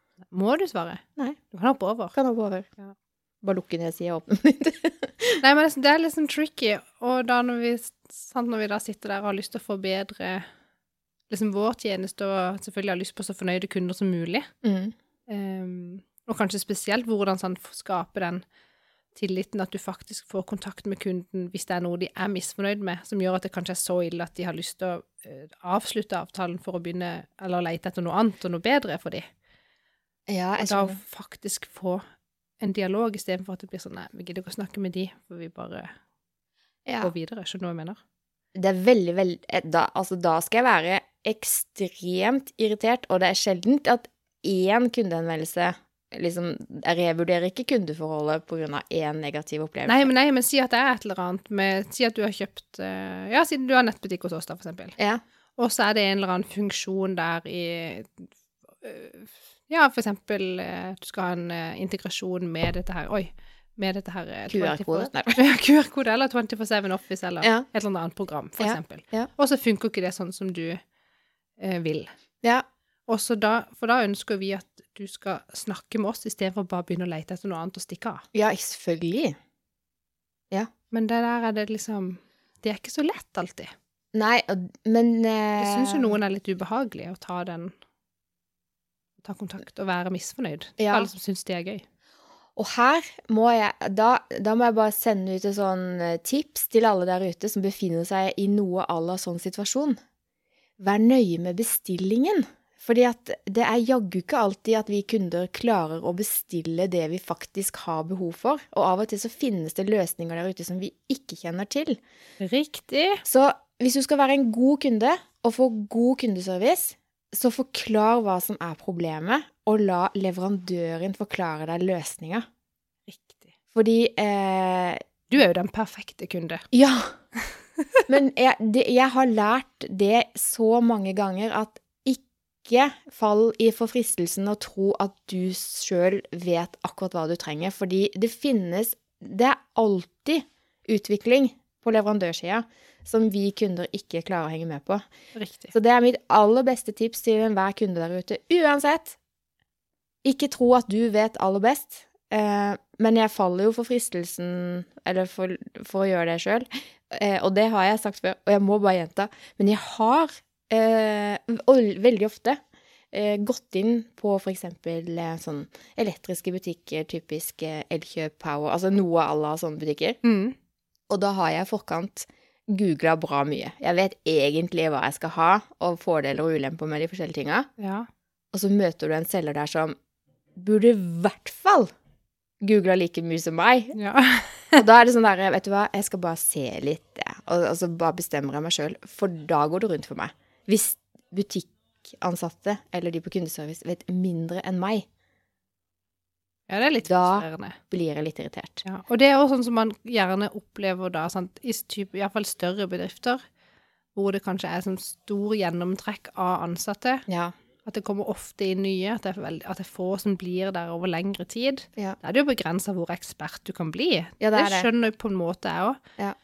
Speaker 1: Må du svare?
Speaker 2: Nei.
Speaker 1: Du kan hoppe over.
Speaker 2: Kan hoppe over.
Speaker 1: Ja.
Speaker 2: Bare lukke ned sida og åpne den litt.
Speaker 1: Nei, men det er litt sånn tricky, og da når vi, sant, når vi da sitter der og har lyst til å forbedre liksom vår tjeneste, og selvfølgelig har lyst på så fornøyde kunder som mulig,
Speaker 2: Mm.
Speaker 1: ehm, og kanskje spesielt hvordan sånn f- skape den tilliten at du faktisk får kontakt med kunden hvis det er noe de er misfornøyd med, som gjør at det kanskje er så ille at de har lyst til å eh, avslutte avtalen for å begynne, eller lete etter noe annet og noe bedre for dem.
Speaker 2: Ja,
Speaker 1: Og
Speaker 2: jeg
Speaker 1: da
Speaker 2: skjønner.
Speaker 1: faktisk få en dialog istedenfor at det blir sånn nei, vi gidder ikke å snakke med de, for vi bare
Speaker 2: Ja.
Speaker 1: går videre. Skjønner du hva jeg mener?
Speaker 2: Det er veldig, veldig eh, da, altså, da skal jeg være ekstremt irritert, og det er sjeldent at én kundehenvendelse liksom, Jeg revurderer ikke kundeforholdet pga. én negativ opplevelse.
Speaker 1: Nei, men, nei, men si at det er et eller annet med Si at du har kjøpt eh, Ja, siden du har nettbutikk hos oss, da, for eksempel.
Speaker 2: Ja.
Speaker 1: Og så er det en eller annen funksjon der i eh, Ja, for eksempel eh, du skal ha en eh, integrasjon med dette her Oi. Med dette her eh, 24
Speaker 2: QR-kode. Nei.
Speaker 1: Ja, QR-kode eller 24-7 Office eller
Speaker 2: Ja.
Speaker 1: et eller annet program, for
Speaker 2: Ja,
Speaker 1: eksempel.
Speaker 2: ja.
Speaker 1: Og så funker ikke det sånn som du eh, vil.
Speaker 2: Ja.
Speaker 1: Og så da, for da ønsker vi at du skal snakke med oss istedenfor bare å begynne å lete etter noe annet og stikke av.
Speaker 2: ja, selvfølgelig.
Speaker 1: Men det der er det liksom Det er ikke så lett alltid.
Speaker 2: Nei, og- men
Speaker 1: Jeg
Speaker 2: eh,
Speaker 1: syns jo noen er litt ubehagelig å ta den Ta kontakt og være misfornøyd. Det er
Speaker 2: Ja.
Speaker 1: Alle som syns det er gøy.
Speaker 2: Og her må jeg da, da må jeg bare sende ut et sånn eh, tips til alle der ute som befinner seg i noe à la sånn situasjon. Vær nøye med bestillingen. Fordi at det er jaggu ikke alltid at vi kunder klarer å bestille det vi faktisk har behov for. Og av og til så finnes det løsninger der ute som vi ikke kjenner til.
Speaker 1: Riktig.
Speaker 2: Så hvis du skal være en god kunde og få god kundeservice, så forklar hva som er problemet, og la leverandøren forklare deg løsninga.
Speaker 1: Riktig.
Speaker 2: Fordi eh,
Speaker 1: Du er jo den perfekte kunde.
Speaker 2: Ja. Men jeg, det, jeg har lært det så mange ganger at ikke fall i for fristelsen å tro at du sjøl vet akkurat hva du trenger. Fordi det finnes Det er alltid utvikling på leverandørsida som vi kunder ikke klarer å henge med på.
Speaker 1: Riktig.
Speaker 2: Så det er mitt aller beste tips til enhver kunde der ute. Uansett, ikke tro at du vet aller best. Eh, men jeg faller jo for fristelsen, eller for, for å gjøre det sjøl. Eh, og det har jeg sagt før, og jeg må bare gjenta. Men jeg har, eh, og veldig ofte, eh, gått inn på f.eks. Eh, sånn elektriske butikker, typisk eh, Elkjøp Power, altså noe à la sånne butikker.
Speaker 1: Mm.
Speaker 2: Og da har jeg i forkant googla bra mye. Jeg vet egentlig hva jeg skal ha, og fordeler og ulemper med de forskjellige tinga.
Speaker 1: Ja.
Speaker 2: Og så møter du en selger der som burde i hvert fall googla like mye som meg.
Speaker 1: ja.
Speaker 2: Og da er det sånn der, vet du hva, jeg skal bare se litt, jeg. Og, og så bare bestemmer jeg meg sjøl, for da går det rundt for meg. Hvis butikkansatte eller de på kundeservice vet mindre enn meg,
Speaker 1: Ja, det er litt
Speaker 2: Da-
Speaker 1: frustrerende.
Speaker 2: blir jeg litt irritert.
Speaker 1: Ja, og det er også sånn som man gjerne opplever da, sant? i typ, i hvert fall større bedrifter, hvor det kanskje er sånn stor gjennomtrekk av ansatte,
Speaker 2: Ja.
Speaker 1: at det kommer ofte inn nye, at det er, veld, at det er få som blir der over lengre tid.
Speaker 2: Ja.
Speaker 1: Da er det jo begrensa hvor ekspert du kan bli.
Speaker 2: Ja, det er det.
Speaker 1: skjønner jeg på en måte jeg òg.
Speaker 2: Ja.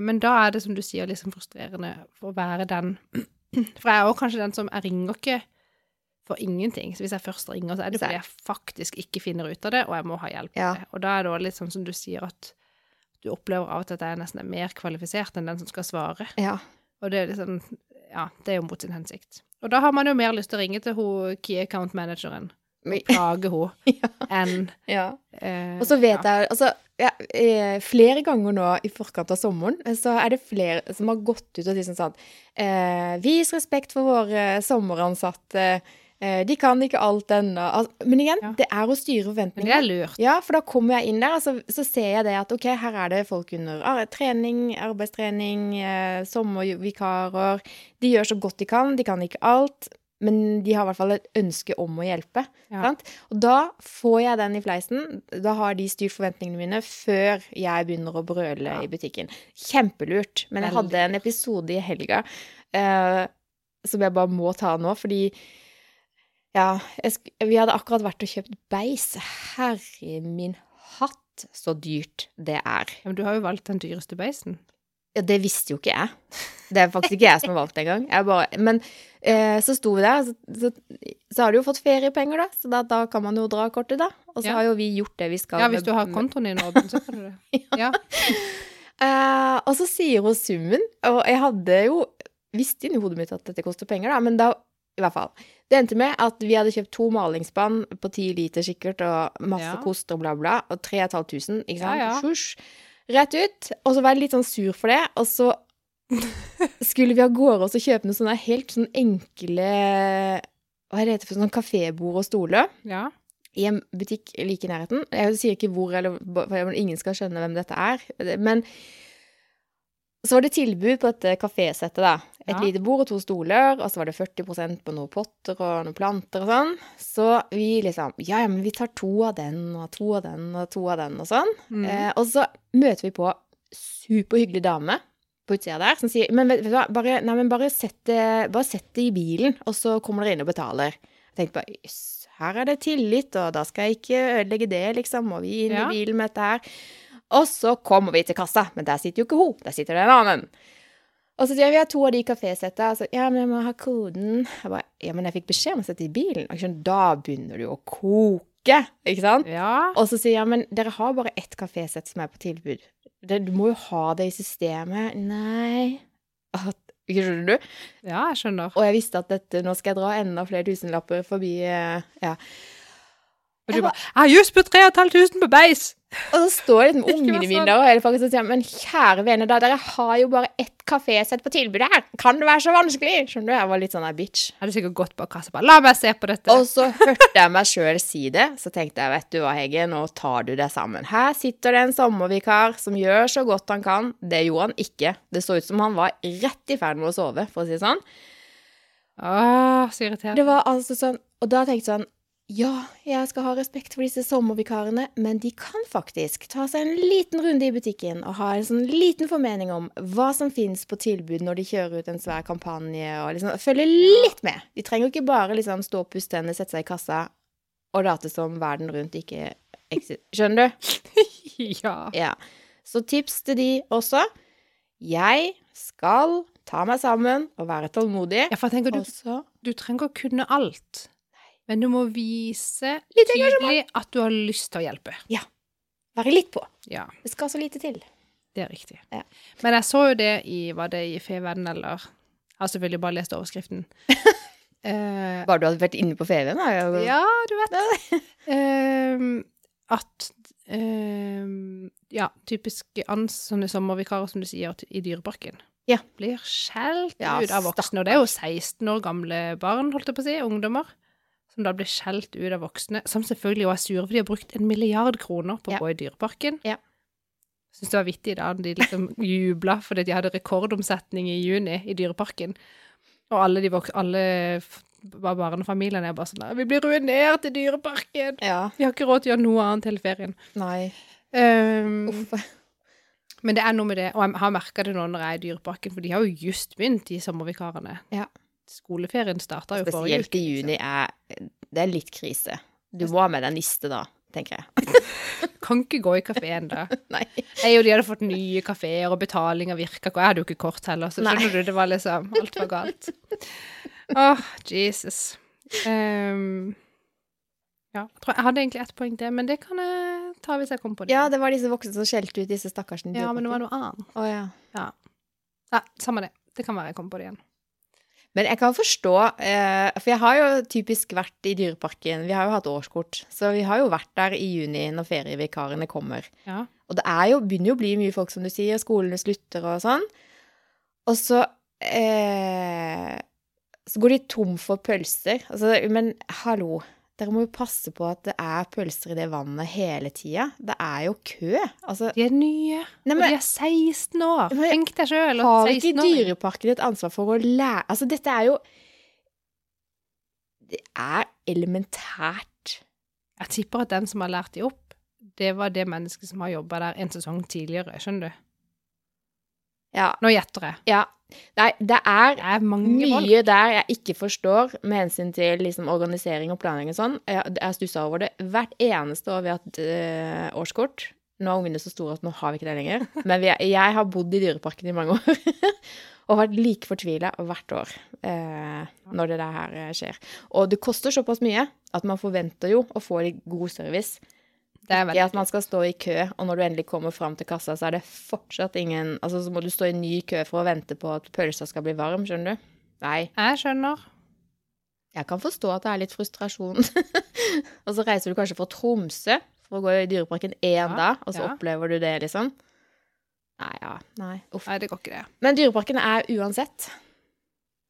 Speaker 1: men da er det, som du sier, liksom frustrerende for å være den For jeg er òg kanskje den som Jeg ringer ikke for ingenting. Så hvis jeg først ringer, så er det
Speaker 2: Så er-
Speaker 1: fordi jeg faktisk ikke finner ut av det, og jeg må ha hjelp. med
Speaker 2: Ja.
Speaker 1: det. Og da er det òg litt sånn som du sier, at du opplever av og til at jeg nesten er mer kvalifisert enn den som skal svare.
Speaker 2: Ja.
Speaker 1: Og det er liksom Ja, det er jo mot sin hensikt. Og da har man jo mer lyst til å ringe til hun key account manageren,
Speaker 2: Men-
Speaker 1: plage hun,
Speaker 2: Ja.
Speaker 1: enn
Speaker 2: ja.
Speaker 1: eh,
Speaker 2: Og så vet
Speaker 1: ja.
Speaker 2: jeg altså, ja, eh, Flere ganger nå i forkant av sommeren eh, så er det flere som har gått ut og sagt sånn eh, Vis respekt for våre sommeransatte. Eh, de kan ikke alt ennå. Altså, men igjen,
Speaker 1: Ja.
Speaker 2: det er å styre
Speaker 1: Men det er
Speaker 2: forventningene.
Speaker 1: lurt.
Speaker 2: Ja, for da kommer jeg inn der, og så, så ser jeg det at ok, her er det folk under ar- trening, arbeidstrening, eh, sommervikarer. De gjør så godt de kan, de kan ikke alt, men de har i hvert fall et ønske om å hjelpe.
Speaker 1: Ja.
Speaker 2: Sant? Og da får jeg den i fleisen. Da har de styrt forventningene mine før jeg begynner å brøle
Speaker 1: Ja.
Speaker 2: i butikken. Kjempelurt. Men jeg
Speaker 1: Veldig
Speaker 2: hadde en episode i helga eh, som jeg bare må ta nå, fordi ja, jeg sk vi hadde akkurat vært og kjøpt beis. Herre min hatt, så dyrt det er.
Speaker 1: Ja, men du har jo valgt den dyreste beisen.
Speaker 2: Ja, det visste jo ikke jeg. Det er faktisk ikke jeg som har valgt det engang. Jeg bare- Men eh, så sto vi der, så, så, så har du jo fått feriepenger, da. Så da, da kan man jo dra kortet, da. Og så
Speaker 1: Ja.
Speaker 2: har jo vi gjort det vi skal.
Speaker 1: Ja, hvis du har
Speaker 2: med-
Speaker 1: kontoen din i orden, så kan du det. Ja.
Speaker 2: Eh, og så sier hun summen, og jeg hadde jo visst inni hodet mitt at dette koster penger, da, men da i hvert fall. Det endte med at vi hadde kjøpt to malingsspann på ti liter sikkert, og masse
Speaker 1: Ja.
Speaker 2: kost og bla, bla, og 3500, ikke sant?
Speaker 1: Ja, ja.
Speaker 2: Sjusj. Rett ut. Og så var jeg litt sånn sur for det, og så skulle vi av gårde og så kjøpe noen sånne helt sånn enkle Hva er det heter for sånn kafébord og stoler?
Speaker 1: ja.
Speaker 2: i en butikk like i nærheten. Jeg sier ikke hvor, eller hva- for ingen skal skjønne hvem dette er. Men så var det tilbud på dette kafésettet, da. Et
Speaker 1: Ja.
Speaker 2: lite bord og to stoler, og så var det 40 på noen potter og noen planter og sånn. Så vi liksom Ja, ja, men vi tar to av den og to av den og to av den og sånn.
Speaker 1: Mm.
Speaker 2: Eh, og så møter vi på superhyggelig dame på utsida der som sier Men vet, vet du hva, bare, nei, men bare, sett det, bare sett det i bilen, og så kommer dere inn og betaler. Jeg tenkte bare jøss, her er det tillit, og da skal jeg ikke ødelegge det, liksom. Og vi inn
Speaker 1: Ja.
Speaker 2: i bilen med dette her. Og så kommer vi til kassa, men der sitter jo ikke hun, der sitter det en annen. Og så sier jeg, vi har to av de kafésettene. Altså, ja, men jeg må ha koden. Jeg bare, ja, men jeg fikk beskjed om å sette i bilen. Og jeg skjønner, da begynner det jo å koke, ikke sant?
Speaker 1: ja.
Speaker 2: Og så sier jeg, men dere har bare ett kafésett som er på tilbud. Det, du må jo ha det i systemet. Nei. At, skjønner du?
Speaker 1: Ja, jeg skjønner.
Speaker 2: Og jeg visste at dette, nå skal jeg dra enda flere tusenlapper forbi eh, ja.
Speaker 1: Og du
Speaker 2: Jeg
Speaker 1: bare 'Jeg har just brukt 3500 på beis!'
Speaker 2: Og så står jeg liksom ungene
Speaker 1: vær
Speaker 2: mine
Speaker 1: sånn.
Speaker 2: der, og jeg faktisk sier Men kjære vene, da, dere har jo bare ett kafésett på tilbudet her. Kan det være så vanskelig? Skjønner du? Jeg var litt sånn der bitch.
Speaker 1: Jeg hadde sikkert gått bak kassa bare 'La meg se på dette'.
Speaker 2: Og så hørte jeg meg sjøl si det, så tenkte jeg, vet du hva, Hege, nå tar du deg sammen. Her sitter det en sommervikar som gjør så godt han kan. Det gjorde han ikke. Det så ut som han var rett i ferd med å sove, for å si det sånn.
Speaker 1: Åh, så irriterende.
Speaker 2: Det var altså sånn, og da tenkte jeg sånn, ja, jeg skal ha respekt for disse sommervikarene, men de kan faktisk ta seg en liten runde i butikken og ha en sånn liten formening om hva som finnes på tilbud når de kjører ut en svær kampanje, og liksom følge litt med. De trenger jo ikke bare liksom stå og puste henne, sette seg i kassa og late som verden rundt ikke eksisterer. Skjønner du?
Speaker 1: Ja.
Speaker 2: Ja. Så tips til de også. Jeg skal ta meg sammen og være tålmodig.
Speaker 1: ja, for jeg tenker du,
Speaker 2: Og så
Speaker 1: du trenger å kunne alt. Men du må vise
Speaker 2: Litt
Speaker 1: tydelig at du har lyst til å hjelpe.
Speaker 2: være litt på.
Speaker 1: Ja,
Speaker 2: Det skal så lite til.
Speaker 1: det er riktig.
Speaker 2: Ja.
Speaker 1: Men jeg så jo det i Var det i Fevennen, eller Jeg har selvfølgelig bare lest overskriften. Eh,
Speaker 2: Bare du hadde vært inne på ferien, da. Ja.
Speaker 1: ja, du vet. Ehm, at ehm, Ja, typiske ans, sånne sommervikarer, som du sier, t- i Dyreparken.
Speaker 2: Ja.
Speaker 1: Blir skjelt
Speaker 2: Ja,
Speaker 1: ut av voksne. Og det er jo 16 år gamle barn, holdt jeg på å si. Ungdommer. Som da blir skjelt ut av voksne. Som selvfølgelig også er sure, for de har brukt en milliard kroner på å
Speaker 2: Ja.
Speaker 1: gå i Dyreparken.
Speaker 2: Ja.
Speaker 1: Syns det var vittig da de liksom jubla fordi de hadde rekordomsetning i juni i Dyreparken. Og alle de vok alle f- var barnefamiliene er bare sånn Vi blir ruinert i dyreparken!
Speaker 2: ja.
Speaker 1: Vi har ikke råd til å gjøre noe annet hele ferien.
Speaker 2: Nei.
Speaker 1: Ehm,
Speaker 2: Uff.
Speaker 1: men det er noe med det, og jeg har merka det nå når jeg er i dyreparken, for de har jo just begynt, de sommervikarene.
Speaker 2: Ja.
Speaker 1: Skoleferien starta jo forrige uke.
Speaker 2: Spesielt i juni er Det er litt krise. Du må ha med deg niste, da, tenker jeg.
Speaker 1: liksom. Kan ikke gå i kafeen da.
Speaker 2: Nei.
Speaker 1: Jeg og de hadde fått nye kafeer, og betalinga virka ikke, og jeg hadde jo ikke kort heller, så
Speaker 2: Nei.
Speaker 1: skjønner du, det var liksom Alt var galt. Åh, Jesus. Ehm, ja, jeg tror jeg hadde egentlig ett poeng til, men det kan jeg ta hvis jeg kommer på det.
Speaker 2: Ja, det var disse voksne som skjelte ut disse stakkarsene. i
Speaker 1: Ja, men det var
Speaker 2: dyreparken.
Speaker 1: noe annet.
Speaker 2: Å, ja.
Speaker 1: Nei, samme det. Det kan være jeg kommer på det igjen.
Speaker 2: Men jeg kan forstå, eh, for jeg har jo typisk vært i Dyreparken. Vi har jo hatt årskort, så vi har jo vært der i juni når ferievikarene kommer.
Speaker 1: Ja.
Speaker 2: Og det er jo, begynner jo å bli mye folk, som du sier, skolene slutter og sånn. Og så, eh, så går de tom for pølser. Altså, men hallo, dere må jo passe på at det er pølser i det vannet hele tida. Det er jo kø. Altså,
Speaker 1: De er nye,
Speaker 2: nei,
Speaker 1: og de
Speaker 2: men
Speaker 1: er 16 år.
Speaker 2: Men-
Speaker 1: Tenk deg sjøl.
Speaker 2: har ikke Dyreparken et ansvar for å lære Altså, dette er jo Det er elementært.
Speaker 1: Jeg tipper at den som har lært de opp, det var det mennesket som har jobba der en sesong tidligere. Skjønner du?
Speaker 2: Ja.
Speaker 1: Nå gjetter jeg.
Speaker 2: ja. Nei, det er
Speaker 1: Det er mange folk.
Speaker 2: Mye der jeg ikke forstår med hensyn til liksom, organisering og planlegging og sånn. Jeg, jeg stussa over det hvert eneste år vi har hatt eh, årskort. Nå er ungene så store at nå har vi ikke det lenger. Men vi er, jeg har bodd i Dyreparken i mange år. og vært like fortvila hvert år eh, når det der her eh, skjer. Og det koster såpass mye at man forventer jo å få litt god service.
Speaker 1: Det er
Speaker 2: Ikke at
Speaker 1: veldig
Speaker 2: man skal stå i kø, og når du endelig kommer fram til kassa, så er det fortsatt ingen Altså, så må du stå i ny kø for å vente på at pølsa skal bli varm, skjønner du? Nei.
Speaker 1: Jeg skjønner.
Speaker 2: Jeg kan forstå at det er litt frustrasjon. og så reiser du kanskje fra Tromsø for å gå i Dyreparken én
Speaker 1: Ja,
Speaker 2: dag, og så
Speaker 1: ja.
Speaker 2: opplever du det, liksom. Nei, ja. Nei. Uff.
Speaker 1: Nei, det går ikke, det.
Speaker 2: Men Dyreparken er uansett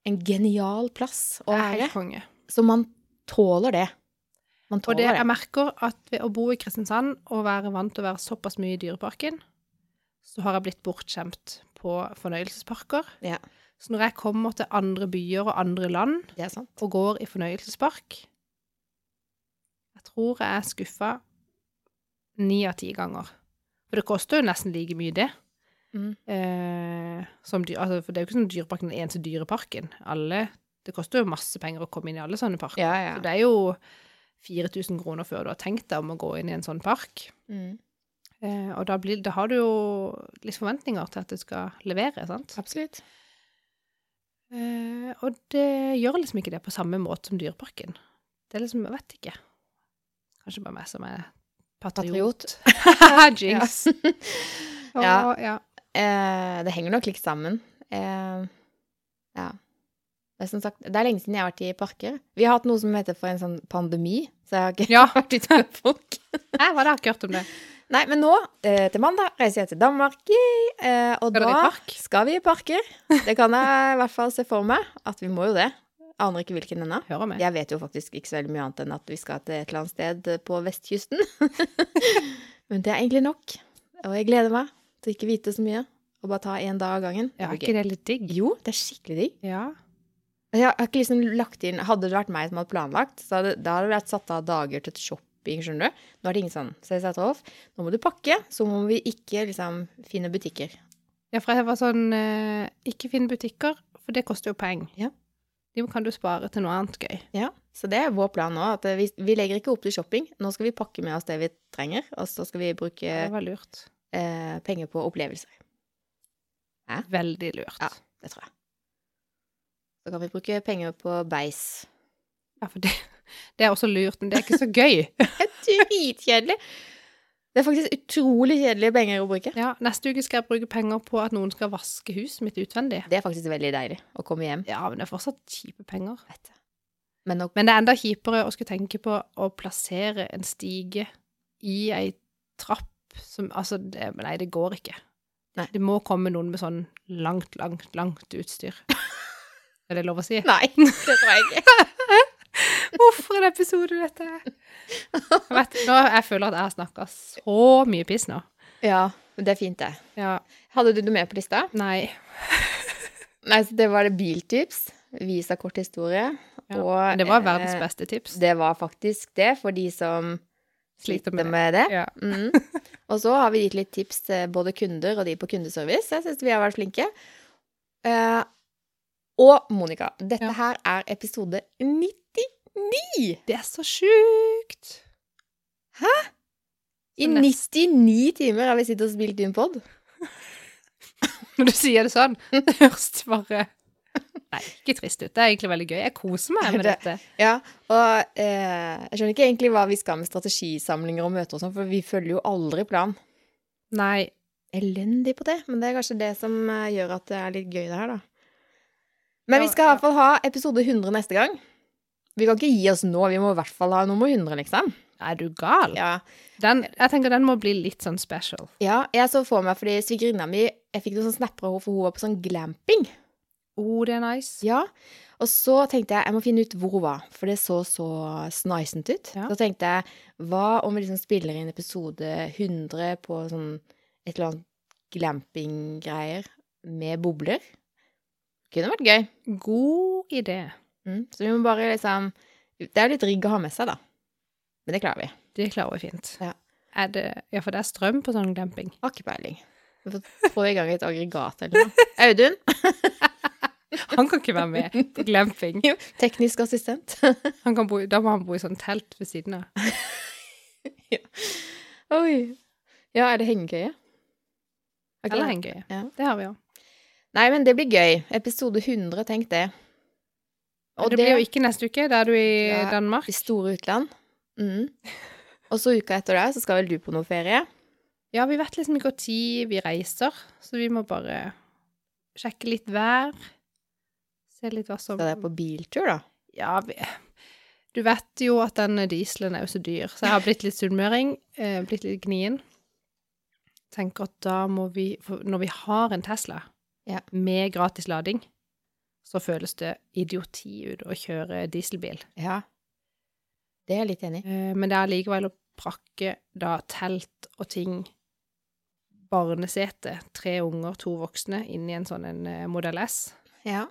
Speaker 2: en genial plass å
Speaker 1: Det er
Speaker 2: være.
Speaker 1: helt konge.
Speaker 2: Så man tåler det. Man
Speaker 1: Og det,
Speaker 2: tåler det.
Speaker 1: jeg merker at ved å bo i Kristiansand og være vant til å være såpass mye i Dyreparken, så har jeg blitt bortskjemt på fornøyelsesparker.
Speaker 2: Ja.
Speaker 1: Så når jeg kommer til andre byer og andre land
Speaker 2: Det er sant.
Speaker 1: og går i fornøyelsespark Jeg tror jeg er skuffa ni av ti ganger. For det koster jo nesten like mye, det.
Speaker 2: Mm.
Speaker 1: Eh, som dyr, altså, for det er jo ikke sånn at Dyreparken er den eneste dyreparken. Alle, det koster jo masse penger å komme inn i alle sånne parker.
Speaker 2: Ja,
Speaker 1: Så
Speaker 2: ja.
Speaker 1: det er jo 4000 kroner før du har tenkt deg om å gå inn i en sånn park.
Speaker 2: Mm.
Speaker 1: Eh, og da, blir, da har du jo litt forventninger til at det skal levere, sant?
Speaker 2: Absolutt.
Speaker 1: Eh, og det gjør liksom ikke det på samme måte som Dyreparken. Det er liksom, jeg vet ikke. Kanskje bare meg som er patriot. Jinx.
Speaker 2: Ja.
Speaker 1: Og, ja.
Speaker 2: Eh, det henger nok litt sammen. Eh, ja. Det er, som sagt, det er lenge siden jeg har vært i parker. Vi har hatt noe som heter for en sånn pandemi, så jeg har ikke
Speaker 1: Ja.
Speaker 2: vært ute med folk.
Speaker 1: Jeg var der, ikke hørt om det.
Speaker 2: Nei, men nå, eh, til mandag, reiser jeg til Danmark. Yay! Eh, og
Speaker 1: Skal dere i
Speaker 2: da
Speaker 1: park?
Speaker 2: skal vi i parker. Det kan jeg i hvert fall se for meg at vi må jo det. Aner ikke hvilken ennå.
Speaker 1: Hører med.
Speaker 2: Jeg vet jo faktisk ikke så veldig mye annet enn at vi skal til et eller annet sted på vestkysten. Men det er egentlig nok. Og jeg gleder meg til ikke vite så mye, og bare ta én dag av gangen.
Speaker 1: Ja, er
Speaker 2: blir
Speaker 1: ikke
Speaker 2: gøy.
Speaker 1: det litt digg?
Speaker 2: Jo, det er skikkelig digg.
Speaker 1: Ja.
Speaker 2: Jeg har ikke liksom lagt inn, Hadde det vært meg som hadde planlagt, så hadde, da hadde det vært satt av dager til shopping. skjønner du? Nå er det ingen sånn. Så jeg sa til Rolf nå må du pakke, så må vi ikke liksom finne butikker.
Speaker 1: ja, for jeg var sånn eh, Ikke finn butikker, for det koster jo penger.
Speaker 2: Ja. Eh.
Speaker 1: De kan du spare til noe annet gøy.
Speaker 2: Ja, Så det er vår plan nå. at vi, vi legger ikke opp til shopping. Nå skal vi pakke med oss det vi trenger, og så skal vi bruke
Speaker 1: Det var lurt.
Speaker 2: eh, penger på opplevelser.
Speaker 1: Veldig lurt.
Speaker 2: Ja. Det tror jeg. Så kan vi bruke penger på beis.
Speaker 1: Ja, for det, det er også lurt, men det er ikke så gøy.
Speaker 2: Det er dritkjedelig! Det er faktisk utrolig kjedelige penger å bruke.
Speaker 1: Ja, neste uke skal jeg bruke penger på at noen skal vaske huset mitt utvendig.
Speaker 2: Det er faktisk veldig deilig å komme hjem.
Speaker 1: Ja, men det er fortsatt kjipe penger.
Speaker 2: Vet du. Men nå
Speaker 1: Men det er enda kjipere å skulle tenke på å plassere en stige i ei trapp som Altså, det, nei, det går ikke.
Speaker 2: Nei.
Speaker 1: Det må komme noen med sånn langt, langt, langt utstyr. Er det lov å si?
Speaker 2: Nei, det tror jeg ikke.
Speaker 1: Hvorfor en episode dette er? Jeg, vet, nå, jeg føler at jeg har snakka så mye piss nå.
Speaker 2: Ja, men det er fint, det.
Speaker 1: Ja.
Speaker 2: Hadde du noe mer på lista?
Speaker 1: Nei.
Speaker 2: Nei, så det var det biltips, visa kort historie,
Speaker 1: Ja.
Speaker 2: og
Speaker 1: Men det var verdens
Speaker 2: eh,
Speaker 1: beste tips.
Speaker 2: Det var faktisk det for de som
Speaker 1: Sliter
Speaker 2: sliter
Speaker 1: med det.
Speaker 2: med, det.
Speaker 1: Ja.
Speaker 2: Mhm. Og så har vi gitt litt tips til både kunder og de på kundeservice. Jeg syns vi har vært flinke. Eh, og Monica, dette
Speaker 1: Ja.
Speaker 2: her er episode 99!
Speaker 1: Det er så sjukt!
Speaker 2: I
Speaker 1: Så
Speaker 2: 99 timer har vi sittet og spilt inn pod.
Speaker 1: Når du sier det sånn,
Speaker 2: Mm.
Speaker 1: det høres det bare Nei, ikke trist ut. Det er egentlig veldig gøy. Jeg koser meg med
Speaker 2: Det-
Speaker 1: dette.
Speaker 2: Ja, og eh, jeg skjønner ikke egentlig hva vi skal med strategisamlinger og møter og sånn, for vi følger jo aldri plan.
Speaker 1: Nei,
Speaker 2: Elendig på det, men det er kanskje det som eh, gjør at det er litt gøy det her, da. Men
Speaker 1: Ja,
Speaker 2: vi skal i
Speaker 1: ja.
Speaker 2: hvert fall ha episode 100 neste gang. Vi kan ikke gi oss nå, vi må i hvert fall ha nummer 100, liksom.
Speaker 1: er du gal?
Speaker 2: Ja,
Speaker 1: Den, jeg tenker den må bli litt sånn special.
Speaker 2: ja jeg så for meg fordi svigerinna mi, jeg fikk noen sånne snapper av henne, for hun var på sånn glamping.
Speaker 1: Oh, det er nice.
Speaker 2: Ja, og så tenkte jeg jeg må finne ut hvor hun var, for det så så sneisent ut.
Speaker 1: Ja.
Speaker 2: Så tenkte jeg hva om vi liksom spiller inn episode 100 på sånn et eller annet glamping-greier med bobler? Kunne vært gøy.
Speaker 1: God idé.
Speaker 2: Mm. Så vi må bare liksom Det er litt rigg å ha med seg, da. Men det klarer vi.
Speaker 1: Det klarer vi fint.
Speaker 2: Ja.
Speaker 1: Er det, ja, for det er strøm på sånn glamping.
Speaker 2: Har ikke peiling. Vi får få i gang et aggregat eller noe. Audun,
Speaker 1: Han kan ikke være med på glamping.
Speaker 2: teknisk assistent.
Speaker 1: Han kan bo, i- da må han bo i sånn telt ved siden av.
Speaker 2: Oi. Ja, er det hengekøye? Ok.
Speaker 1: Eller hengekøye.
Speaker 2: Ja.
Speaker 1: Det har vi jo.
Speaker 2: Nei, men det blir gøy. Episode 100, tenk det.
Speaker 1: Og det blir jo ikke neste uke. Da er du i
Speaker 2: Ja.
Speaker 1: Danmark.
Speaker 2: i store utland. Mm. Og så uka etter det, så skal vel du på noe ferie?
Speaker 1: Ja, vi vet liksom ikke når vi reiser, så vi må bare sjekke litt vær. Se litt hva som
Speaker 2: Skal dere på biltur, da?
Speaker 1: Ja, vi Du vet jo at den dieselen er jo så dyr, så jeg har blitt litt sunnmøring. Eh, blitt litt gnien. Tenker at da må vi for Når vi har en Tesla
Speaker 2: Ja.
Speaker 1: med gratis lading, så føles det idioti ut å kjøre dieselbil.
Speaker 2: Ja. Det er jeg litt enig i.
Speaker 1: Eh, Men det er likevel å prakke da telt og ting, barnesete, tre unger, to voksne, inn i en sånn en eh, Model S,
Speaker 2: Ja.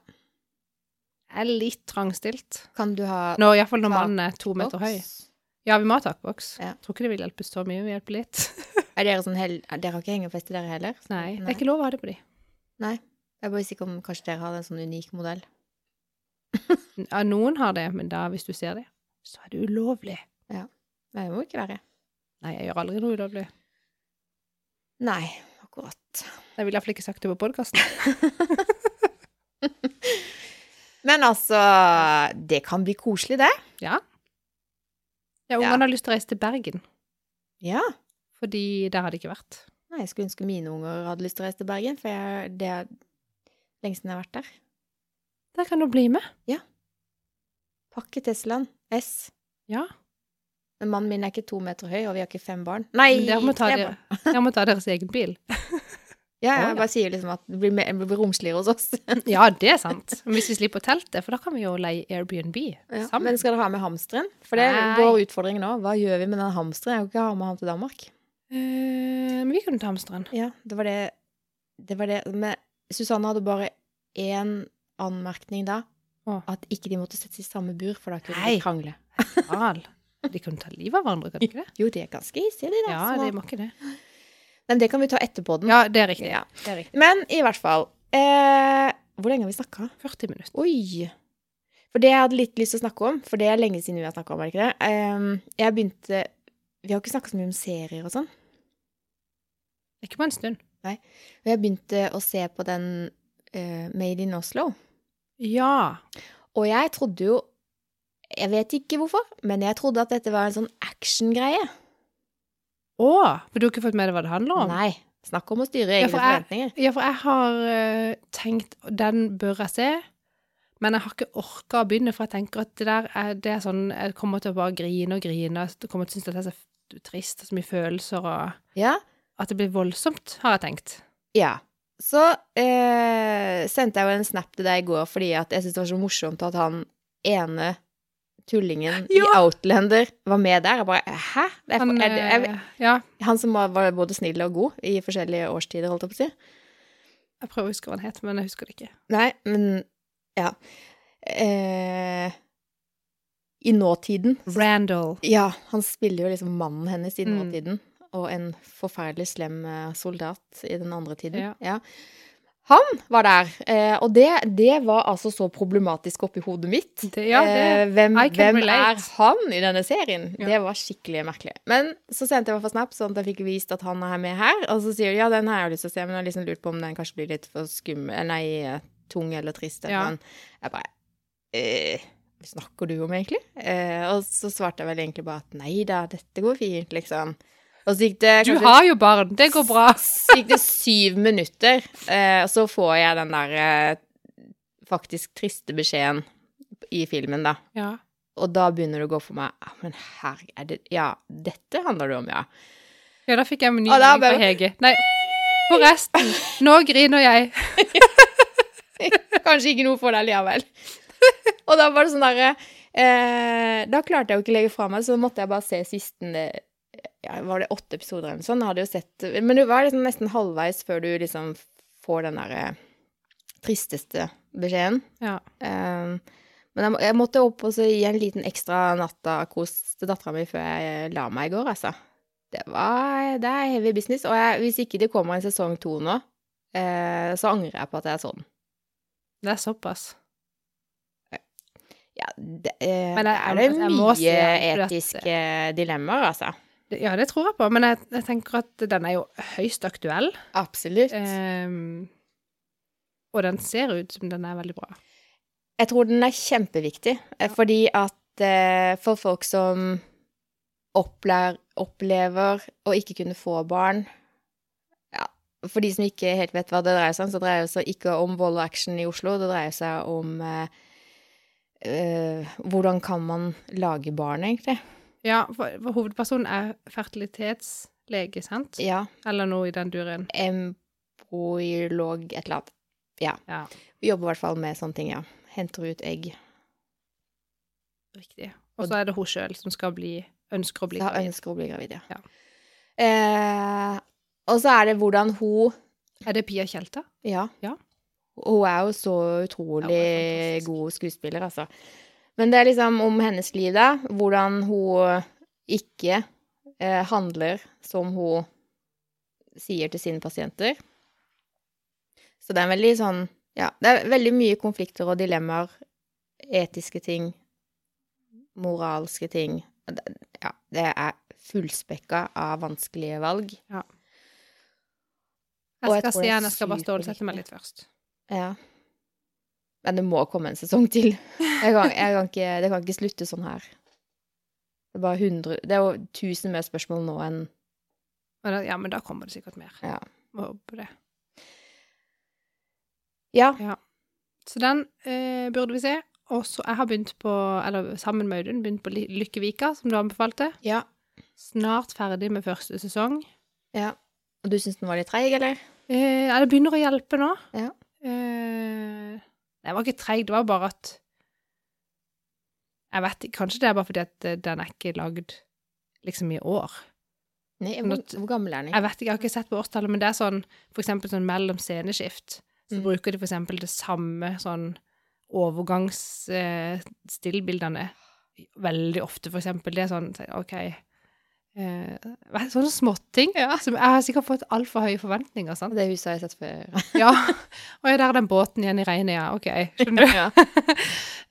Speaker 1: er litt trangstilt.
Speaker 2: Kan du ha
Speaker 1: Når, i hvert fall når mannen er to meter høy.
Speaker 2: boks?
Speaker 1: Ja, vi må ha takboks.
Speaker 2: Ja.
Speaker 1: Tror ikke det vil hjelpe så mye, vi hjelper litt.
Speaker 2: Er dere sånn hel... Dere har ikke hengerfeste, dere heller?
Speaker 1: Nei, det
Speaker 2: Nei.
Speaker 1: er ikke lov å ha det på de.
Speaker 2: Jeg er bare usikker om kanskje dere har en sånn unik modell.
Speaker 1: Ja, noen har det, men da, hvis du ser det, så er det ulovlig.
Speaker 2: Nei, det må ikke være.
Speaker 1: Nei, jeg gjør aldri noe ulovlig.
Speaker 2: Nei, akkurat.
Speaker 1: Jeg ville iallfall ikke sagt det på podkasten.
Speaker 2: Men altså, det kan bli koselig, det.
Speaker 1: Ja, ungene har lyst til å reise til Bergen,
Speaker 2: Ja.
Speaker 1: fordi der har de ikke vært.
Speaker 2: Nei, jeg skulle ønske mine unger hadde lyst til å reise til Bergen, for jeg, det er lenge siden jeg har vært der.
Speaker 1: Der kan du bli med.
Speaker 2: Pakke Teslaen. S.
Speaker 1: Ja.
Speaker 2: Men mannen min er ikke to meter høy, og vi har ikke fem barn. Nei!
Speaker 1: Men Dere må ta,
Speaker 2: tre barn.
Speaker 1: dere, dere må ta deres egen bil. Å,
Speaker 2: Ja, jeg
Speaker 1: ja.
Speaker 2: bare sier liksom at det blir, mer, det blir romsligere hos oss.
Speaker 1: Ja, det er sant. Men hvis vi slipper teltet, for da kan vi jo leie Airbnb
Speaker 2: Ja.
Speaker 1: sammen.
Speaker 2: Men skal dere ha med hamsteren? For det er
Speaker 1: Nei.
Speaker 2: vår utfordring nå. Hva gjør vi med den hamsteren? Jeg kan ikke ha med han til Danmark.
Speaker 1: Eh, men vi kunne ta hamsteren.
Speaker 2: Ja, det var det. det, var det. Men Susanne hadde bare én anmerkning da.
Speaker 1: Å.
Speaker 2: At ikke de måtte settes i samme bur, for da kunne
Speaker 1: Nei.
Speaker 2: de krangle.
Speaker 1: Al. De kunne ta livet av hverandre, kan de ikke det?
Speaker 2: Jo, de er ganske hissige, de da.
Speaker 1: Ja,
Speaker 2: små.
Speaker 1: de må ikke det.
Speaker 2: Men det kan vi ta etterpå den.
Speaker 1: Ja, det er riktig.
Speaker 2: Ja.
Speaker 1: Det er riktig.
Speaker 2: Men i hvert fall eh, Hvor lenge har vi snakka?
Speaker 1: 40 minutter.
Speaker 2: Oi! For det jeg hadde litt lyst til å snakke om, for det er lenge siden vi har snakka om, er det ikke det? Ehm, jeg begynte Vi har ikke snakka så mye om serier og sånn.
Speaker 1: Ikke på en stund.
Speaker 2: Og jeg begynte å se på den eh, Made in Oslo.
Speaker 1: Ja.
Speaker 2: Og jeg trodde jo Jeg vet ikke hvorfor, men jeg trodde at dette var en sånn actiongreie.
Speaker 1: Å, for du har ikke fått med deg hva det handler om?
Speaker 2: Nei. Snakk om å styre
Speaker 1: Ja,
Speaker 2: egne
Speaker 1: for jeg-
Speaker 2: forventninger.
Speaker 1: Ja, for jeg har eh, tenkt den bør jeg se, men jeg har ikke orka å begynne, for jeg tenker at det der er, det er sånn Jeg kommer til å bare grine og grine, jeg kommer til å synes at det er så f- trist og så mye følelser og
Speaker 2: Ja.
Speaker 1: At det blir voldsomt, har jeg tenkt.
Speaker 2: Ja. Så eh, sendte jeg jo en snap til deg i går fordi at jeg syntes det var så morsomt at han ene tullingen i
Speaker 1: Ja.
Speaker 2: Outlander var med der. Jeg bare Hæ? Det er, for-
Speaker 1: Han,
Speaker 2: er, det- jeg,
Speaker 1: eh, ja,
Speaker 2: han som var, var både snill og god i forskjellige årstider, holdt jeg på å si.
Speaker 1: jeg prøver å huske hva han het, men jeg husker det ikke.
Speaker 2: Nei, men Ja. Eh, I nåtiden
Speaker 1: Randall.
Speaker 2: Ja, han spiller jo liksom mannen hennes i den
Speaker 1: Mm.
Speaker 2: ene tiden, og en forferdelig slem eh, soldat i den andre tiden.
Speaker 1: Ja.
Speaker 2: Ja. Han var der, eh, og det, det var altså så problematisk oppi hodet mitt.
Speaker 1: Det, ja, det
Speaker 2: Eh, hvem
Speaker 1: I can
Speaker 2: hvem er
Speaker 1: relate.
Speaker 2: han i denne serien?
Speaker 1: Ja.
Speaker 2: Det var skikkelig merkelig. Men så sendte jeg meg for Snap, sånn at jeg fikk vist at han er med her. Og så sier de ja, den har jeg jo lyst til å se, men jeg har liksom lurt på om den kanskje blir litt for skummel Nei, eh, tung eller trist. Eller
Speaker 1: Ja.
Speaker 2: noe. Jeg bare eh, Hva snakker du om, egentlig? Eh, og så svarte jeg vel egentlig bare at nei da, dette går fint, liksom. Og så gikk det
Speaker 1: Du
Speaker 2: kanskje-
Speaker 1: har jo barn, det går bra.
Speaker 2: så gikk det syv minutter, eh, og så får jeg den der eh, faktisk triste beskjeden i filmen, da.
Speaker 1: Ja.
Speaker 2: Og da begynner det å gå for meg ah, Men her er det Ja, dette handler det om, ja.
Speaker 1: ja, da fikk jeg en ny
Speaker 2: Å, Ah, da
Speaker 1: melding fra
Speaker 2: bare-
Speaker 1: Hege. Nei, forresten, nå griner jeg.
Speaker 2: Kanskje ikke noe for deg likevel. Og da var det sånn derre eh, Da klarte jeg jo ikke å legge fra meg, så måtte jeg bare se siste eh, ja, Var det åtte episoder eller noe sånt? Jeg Hadde jo sett Men du var liksom nesten halvveis før du liksom får den derre tristeste beskjeden.
Speaker 1: Ja.
Speaker 2: Eh, men jeg, må- jeg måtte opp og så gi en liten ekstra nattakos til dattera mi før jeg la meg i går, altså. Det, var, det er heavy business. Og jeg, hvis ikke det kommer en sesong to nå, eh, så angrer jeg på at jeg så den.
Speaker 1: Det er såpass.
Speaker 2: Ja, det, eh,
Speaker 1: Men jeg-
Speaker 2: der er det
Speaker 1: altså, jeg- jeg må
Speaker 2: mye
Speaker 1: si at-
Speaker 2: etiske dilemmaer, altså.
Speaker 1: Det- Ja, det tror jeg på, men jeg, jeg tenker at den er jo høyst aktuell.
Speaker 2: Absolutt.
Speaker 1: ehm, og den ser ut som den er veldig bra.
Speaker 2: Jeg tror den er kjempeviktig, eh, fordi at eh, for folk som opplever, opplever å ikke kunne få barn ja, For de som ikke helt vet hva det dreier seg om, så dreier det seg ikke om vold og action i Oslo. Det dreier seg om eh, eh, hvordan kan man lage barn, egentlig?
Speaker 1: Ja, for, for hovedpersonen er fertilitetslege, sant?
Speaker 2: Ja.
Speaker 1: Eller noe i den duren.
Speaker 2: Embryolog, et eller annet.
Speaker 1: Ja,
Speaker 2: Vi jobber i hvert fall med sånne ting, ja. Henter ut egg.
Speaker 1: riktig. Og så er det hun sjøl som skal bli Ønsker å bli
Speaker 2: Ja,
Speaker 1: gravid.
Speaker 2: ønsker å bli gravid, ja.
Speaker 1: Ja.
Speaker 2: Eh, og så er det hvordan hun
Speaker 1: Er det Pia Tjelta?
Speaker 2: Ja.
Speaker 1: Ja.
Speaker 2: Hun er jo så utrolig
Speaker 1: Ja, hun er fantastisk.
Speaker 2: god skuespiller, altså. Men det er liksom om hennes liv, da. Hvordan hun ikke eh, handler som hun sier til sine pasienter. Så det er en veldig sånn Ja, det er veldig mye konflikter og dilemmaer. Etiske ting. Moralske ting. Det- Ja, det er fullspekka av vanskelige valg. Og
Speaker 1: Jeg
Speaker 2: jeg
Speaker 1: skal
Speaker 2: tror
Speaker 1: se
Speaker 2: det er
Speaker 1: henne, jeg skal bare
Speaker 2: sykt
Speaker 1: stålsette meg
Speaker 2: viktig.
Speaker 1: litt først.
Speaker 2: Ja. Men det må komme en sesong til. Jeg kan, jeg kan ikke, det kan ikke slutte sånn her. Det er bare 100 Det er jo 1000 mer spørsmål nå enn
Speaker 1: Men da, ja, men da kommer det sikkert mer.
Speaker 2: Ja.
Speaker 1: Må håpe på det.
Speaker 2: Ja.
Speaker 1: Så den eh, burde vi se. Og så jeg har begynt på, eller sammen med Audun, begynt på Ly- Lykkevika, som du anbefalte.
Speaker 2: Ja.
Speaker 1: Snart ferdig med første sesong.
Speaker 2: ja. Og du syns den var litt treig, eller?
Speaker 1: Eh, ja, det begynner å hjelpe nå.
Speaker 2: Ja.
Speaker 1: Eh, nei, jeg var ikke treig, det var bare at Jeg vet ikke, kanskje det er bare fordi at eh, den er ikke lagd liksom i år.
Speaker 2: Nei, hvor, hvor gammel er den?
Speaker 1: Jeg vet ikke, jeg har ikke sett på årstallet, men det er sånn for eksempel sånn mellom sceneskift, så
Speaker 2: Mm.
Speaker 1: bruker de for eksempel det samme sånn overgangsstillbildene veldig ofte, for eksempel. Det er sånn, så- ok, eh, vet- sånne småtting.
Speaker 2: Ja.
Speaker 1: Som, jeg har sikkert fått altfor høye forventninger, sant?
Speaker 2: Det huset har jeg sett før.
Speaker 1: Ja, og jeg er der den båten igjen i regnet, ja, ok, skjønner du?
Speaker 2: ja.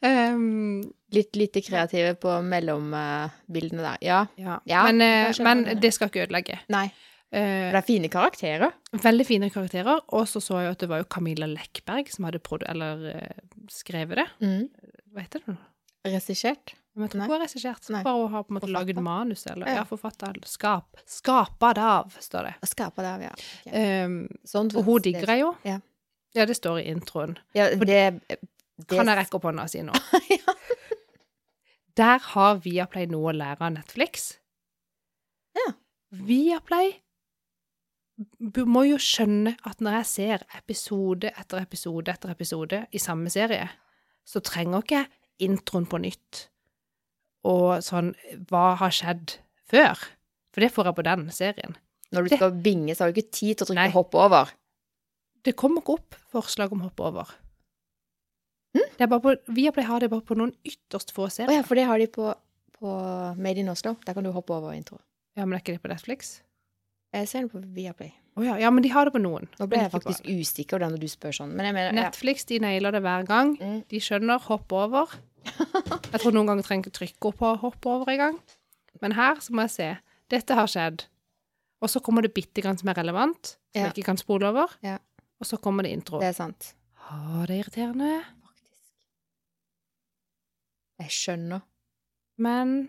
Speaker 1: Ehm,
Speaker 2: Litt lite kreative på mellombildene der. Ja.
Speaker 1: ja.
Speaker 2: Ja,
Speaker 1: men, eh,
Speaker 2: jeg skjønner
Speaker 1: men
Speaker 2: det.
Speaker 1: det skal ikke ødelegge.
Speaker 2: Nei.
Speaker 1: Eh,
Speaker 2: Det er fine karakterer.
Speaker 1: Veldig fine karakterer. Og så så jeg at det var jo Camilla Lekberg som hadde produ eller, eh, skrevet det.
Speaker 2: Mm.
Speaker 1: Hva heter det nå?
Speaker 2: Regissert.
Speaker 1: Men jeg tror ikke
Speaker 2: Nei.
Speaker 1: hun har regissert.
Speaker 2: Nei.
Speaker 1: Bare hun har på en måte
Speaker 2: Forfatter.
Speaker 1: laget manus, eller
Speaker 2: Ja.
Speaker 1: ja, forfatta. Skap. Skapa det av, står det.
Speaker 2: Og skapa det av, ja. Ok.
Speaker 1: Um,
Speaker 2: Sånn-
Speaker 1: og hun digger jeg jo.
Speaker 2: Ja.
Speaker 1: Ja, det står i introen.
Speaker 2: Ja,
Speaker 1: For-
Speaker 2: det, det
Speaker 1: Kan jeg rekke opp hånda og si noe? Der har Viaplay noe å lære av Netflix.
Speaker 2: Ja.
Speaker 1: Viaplay b- må jo skjønne at når jeg ser episode etter episode etter episode i samme serie, så trenger ikke jeg introen på nytt og sånn Hva har skjedd før? For det får jeg på den serien.
Speaker 2: Når du
Speaker 1: Det-
Speaker 2: skal binge, så har du ikke tid til å trykke
Speaker 1: Nei.
Speaker 2: 'hopp over'.
Speaker 1: Det kommer ikke opp forslag om å hoppe over.
Speaker 2: Hm?
Speaker 1: Det er bare på, Viaplay har det bare på noen ytterst få
Speaker 2: Å
Speaker 1: serier.
Speaker 2: ja, for det har de på, på Made in Oslo. Der kan du hoppe over intro.
Speaker 1: Ja, men er ikke det på Netflix?
Speaker 2: Jeg ser den på Viaplay.
Speaker 1: Å ja, ja, men de har det på noen.
Speaker 2: Nå ble
Speaker 1: Men
Speaker 2: jeg
Speaker 1: ikke på
Speaker 2: faktisk usikker da når du spør sånn. Men jeg
Speaker 1: alle.
Speaker 2: mener ja.
Speaker 1: Netflix de nailer det hver gang.
Speaker 2: Mm.
Speaker 1: De skjønner 'hopp over'. Jeg tror noen ganger trenger jeg ikke trykke opp på 'hopp over' engang. Men her så må jeg se. Dette har skjedd. Og så kommer det bitte grann som er relevant, som
Speaker 2: Ja.
Speaker 1: jeg ikke kan spole over.
Speaker 2: Ja.
Speaker 1: Og så kommer det intro.
Speaker 2: Det er sant.
Speaker 1: Å, det er irriterende.
Speaker 2: Jeg skjønner.
Speaker 1: Men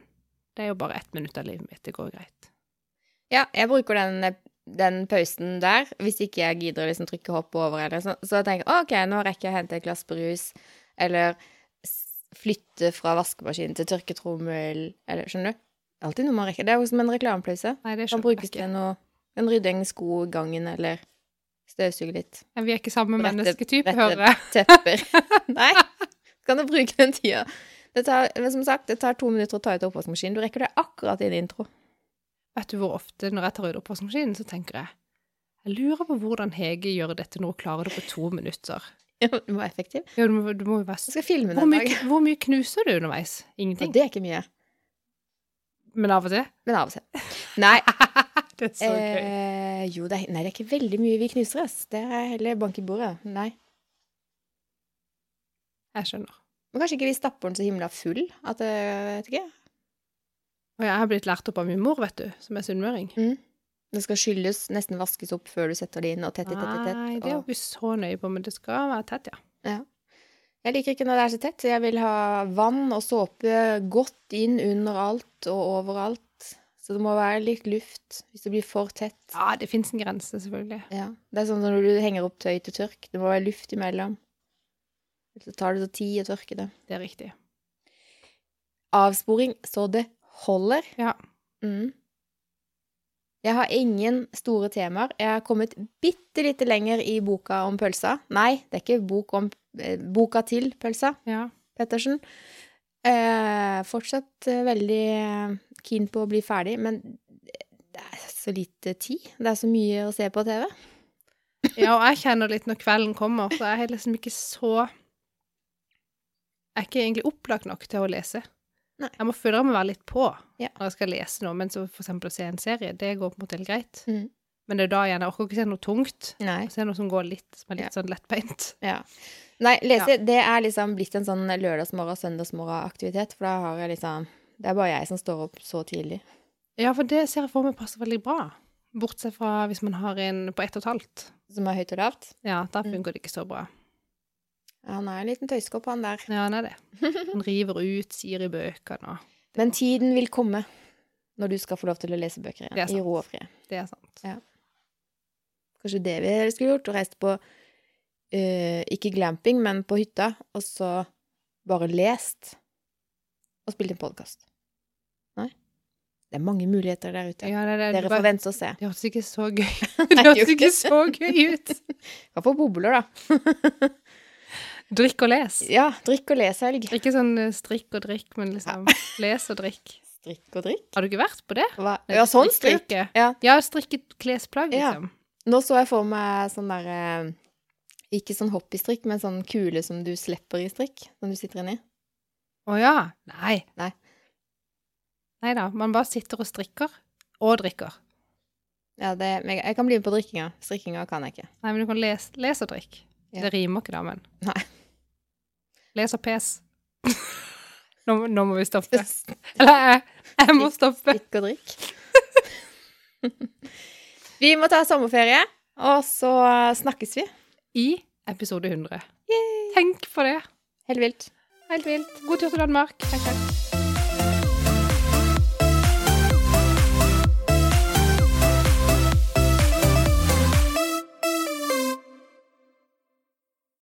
Speaker 1: det er jo bare ett minutt av livet mitt. Det går greit.
Speaker 2: Ja, jeg bruker den, den pausen der hvis ikke jeg gidder å liksom trykke 'hopp over' eller sånn. Så jeg tenker OK, nå rekker jeg å hente et glass brus, eller s- flytte fra vaskemaskinen til tørketrommel, eller Skjønner du? Alltid noe man rekker. Det er jo som en reklamepause.
Speaker 1: Nei, det
Speaker 2: Kan
Speaker 1: skjønner
Speaker 2: brukes
Speaker 1: jeg
Speaker 2: til
Speaker 1: ikke.
Speaker 2: noe En rydde en sko i gangen, eller støvsuge litt.
Speaker 1: Ja, Vi er ikke samme
Speaker 2: Rette-
Speaker 1: mennesketype,
Speaker 2: rette-
Speaker 1: hører jeg.
Speaker 2: Tepper. Nei! Kan du bruke den tida? Det tar, men som sagt, det tar to minutter å ta ut oppvaskmaskinen. Du rekker det akkurat i en intro.
Speaker 1: Vet du hvor ofte når jeg tar ut oppvaskmaskinen, så tenker jeg jeg lurer på hvordan Hege gjør dette når hun klarer det på to minutter.
Speaker 2: Ja, Du må være effektiv.
Speaker 1: Ja, du må, du må jo være
Speaker 2: Jeg
Speaker 1: s-
Speaker 2: skal filme den
Speaker 1: hvor
Speaker 2: en
Speaker 1: mye,
Speaker 2: dag.
Speaker 1: hvor mye knuser du underveis?
Speaker 2: Og
Speaker 1: Ingenting.
Speaker 2: det er ikke mye.
Speaker 1: Men av og til?
Speaker 2: Men av og til. Nei.
Speaker 1: Det er
Speaker 2: Eh, jo, det er, nei, det er ikke veldig mye vi knuser, ass. Det er heller bank i bordet. Nei.
Speaker 1: Jeg skjønner.
Speaker 2: Men kanskje ikke vi stapper den så himla full at det Vet ikke.
Speaker 1: Og jeg har blitt lært opp av min mor, vet du, som er sunnmøring.
Speaker 2: Det Mm. skal skylles, nesten vaskes opp før du setter det inn, og tett, tett, tett. tett,
Speaker 1: Nei, det er jo
Speaker 2: tett.
Speaker 1: ikke så nøye på, men det skal være tett, ja.
Speaker 2: Og jeg liker ikke når det er så tett. så Jeg vil ha vann og såpe godt inn under alt og overalt. Så det må være litt luft hvis det blir for tett.
Speaker 1: Ja, det fins en grense, selvfølgelig.
Speaker 2: Ja. Det er sånn som når du henger opp tøy til tørk. Det må være luft imellom. Så tar det så tid å tørke det.
Speaker 1: Det er riktig.
Speaker 2: avsporing så det holder.
Speaker 1: Ja.
Speaker 2: Mm. Jeg har ingen store temaer. Jeg har kommet bitte lite lenger i boka om pølsa. Nei, det er ikke bok om, eh, boka til pølsa,
Speaker 1: Ja.
Speaker 2: Pettersen. Eh, fortsatt eh, veldig eh, keen på å bli ferdig, men det er så lite tid. Det er så mye å se på TV.
Speaker 1: ja, og jeg kjenner litt når kvelden kommer, så jeg er liksom ikke så Jeg er ikke egentlig opplagt nok til å lese.
Speaker 2: Nei.
Speaker 1: Jeg må føle jeg må være litt på
Speaker 2: Ja.
Speaker 1: når jeg skal lese noe, men så for eksempel å se en serie, det går på en måte helt greit.
Speaker 2: Mm.
Speaker 1: Men det er da igjen, jeg orker ikke se noe tungt.
Speaker 2: Nei.
Speaker 1: Se noe som går litt, som er litt sånn lettbeint.
Speaker 2: Ja. Nei, lese det er liksom blitt en sånn lørdagsmorgen-søndagsmorgen-aktivitet. For da har jeg liksom Det er bare jeg som står opp så tidlig.
Speaker 1: Ja, for det ser jeg for meg passer veldig bra. Bortsett fra hvis man har en på ett og et halvt.
Speaker 2: Som er høyt og lavt.
Speaker 1: Ja, da
Speaker 2: Mm.
Speaker 1: funker det ikke så bra.
Speaker 2: Han er en liten tøyskopp, han der.
Speaker 1: Ja, han er det. Han river ut, sier i bøkene og
Speaker 2: Men tiden vil komme når du skal få lov til å lese bøker
Speaker 1: Det er
Speaker 2: igjen.
Speaker 1: sant.
Speaker 2: I ro og fred.
Speaker 1: Det er sant.
Speaker 2: Kanskje det vi skulle gjort, og reist på eh, ikke glamping, men på hytta, og så bare lest og spilt en podkast. Nei. Det er mange muligheter der ute.
Speaker 1: Ja, det, det,
Speaker 2: Dere
Speaker 1: det,
Speaker 2: får
Speaker 1: var-
Speaker 2: vente og se.
Speaker 1: det hørtes ikke så gøy
Speaker 2: Nei,
Speaker 1: Det hørtes
Speaker 2: jo
Speaker 1: ikke så gøy ut.
Speaker 2: Kan få bobler, da.
Speaker 1: Drikk og les.
Speaker 2: Ja, drikk og leshelg.
Speaker 1: Ikke sånn eh, strikk og drikk, men liksom les og drikk.
Speaker 2: Strikk og drikk?
Speaker 1: Har du ikke vært på det?
Speaker 2: Hva? Ja, sånn strikk.
Speaker 1: Strikke.
Speaker 2: Ja.
Speaker 1: Ja, strikket klesplagg,
Speaker 2: Ja.
Speaker 1: liksom.
Speaker 2: Nå så jeg for meg sånn der eh, Ikke sånn hoppystrikk, men sånn kule som du slipper i strikk, som du sitter inni.
Speaker 1: Å ja. Nei.
Speaker 2: Nei.
Speaker 1: Nei da. Man bare sitter og strikker. Og drikker.
Speaker 2: Ja, det, men jeg, jeg kan bli med på drikkinga. Strikkinga kan jeg ikke.
Speaker 1: Nei, men du kan lese, les og drikke.
Speaker 2: Ja.
Speaker 1: Det rimer ikke, da, men.
Speaker 2: Nei.
Speaker 1: Les og pes. nå, må- nå må vi stoppe. Eller jeg, jeg må stoppe.
Speaker 2: Drikk og drikk. vi må ta sommerferie, og så snakkes vi.
Speaker 1: I episode 100. Tenk på det.
Speaker 2: Helt vilt.
Speaker 1: Helt vilt. God tur til Danmark. Takk, takk.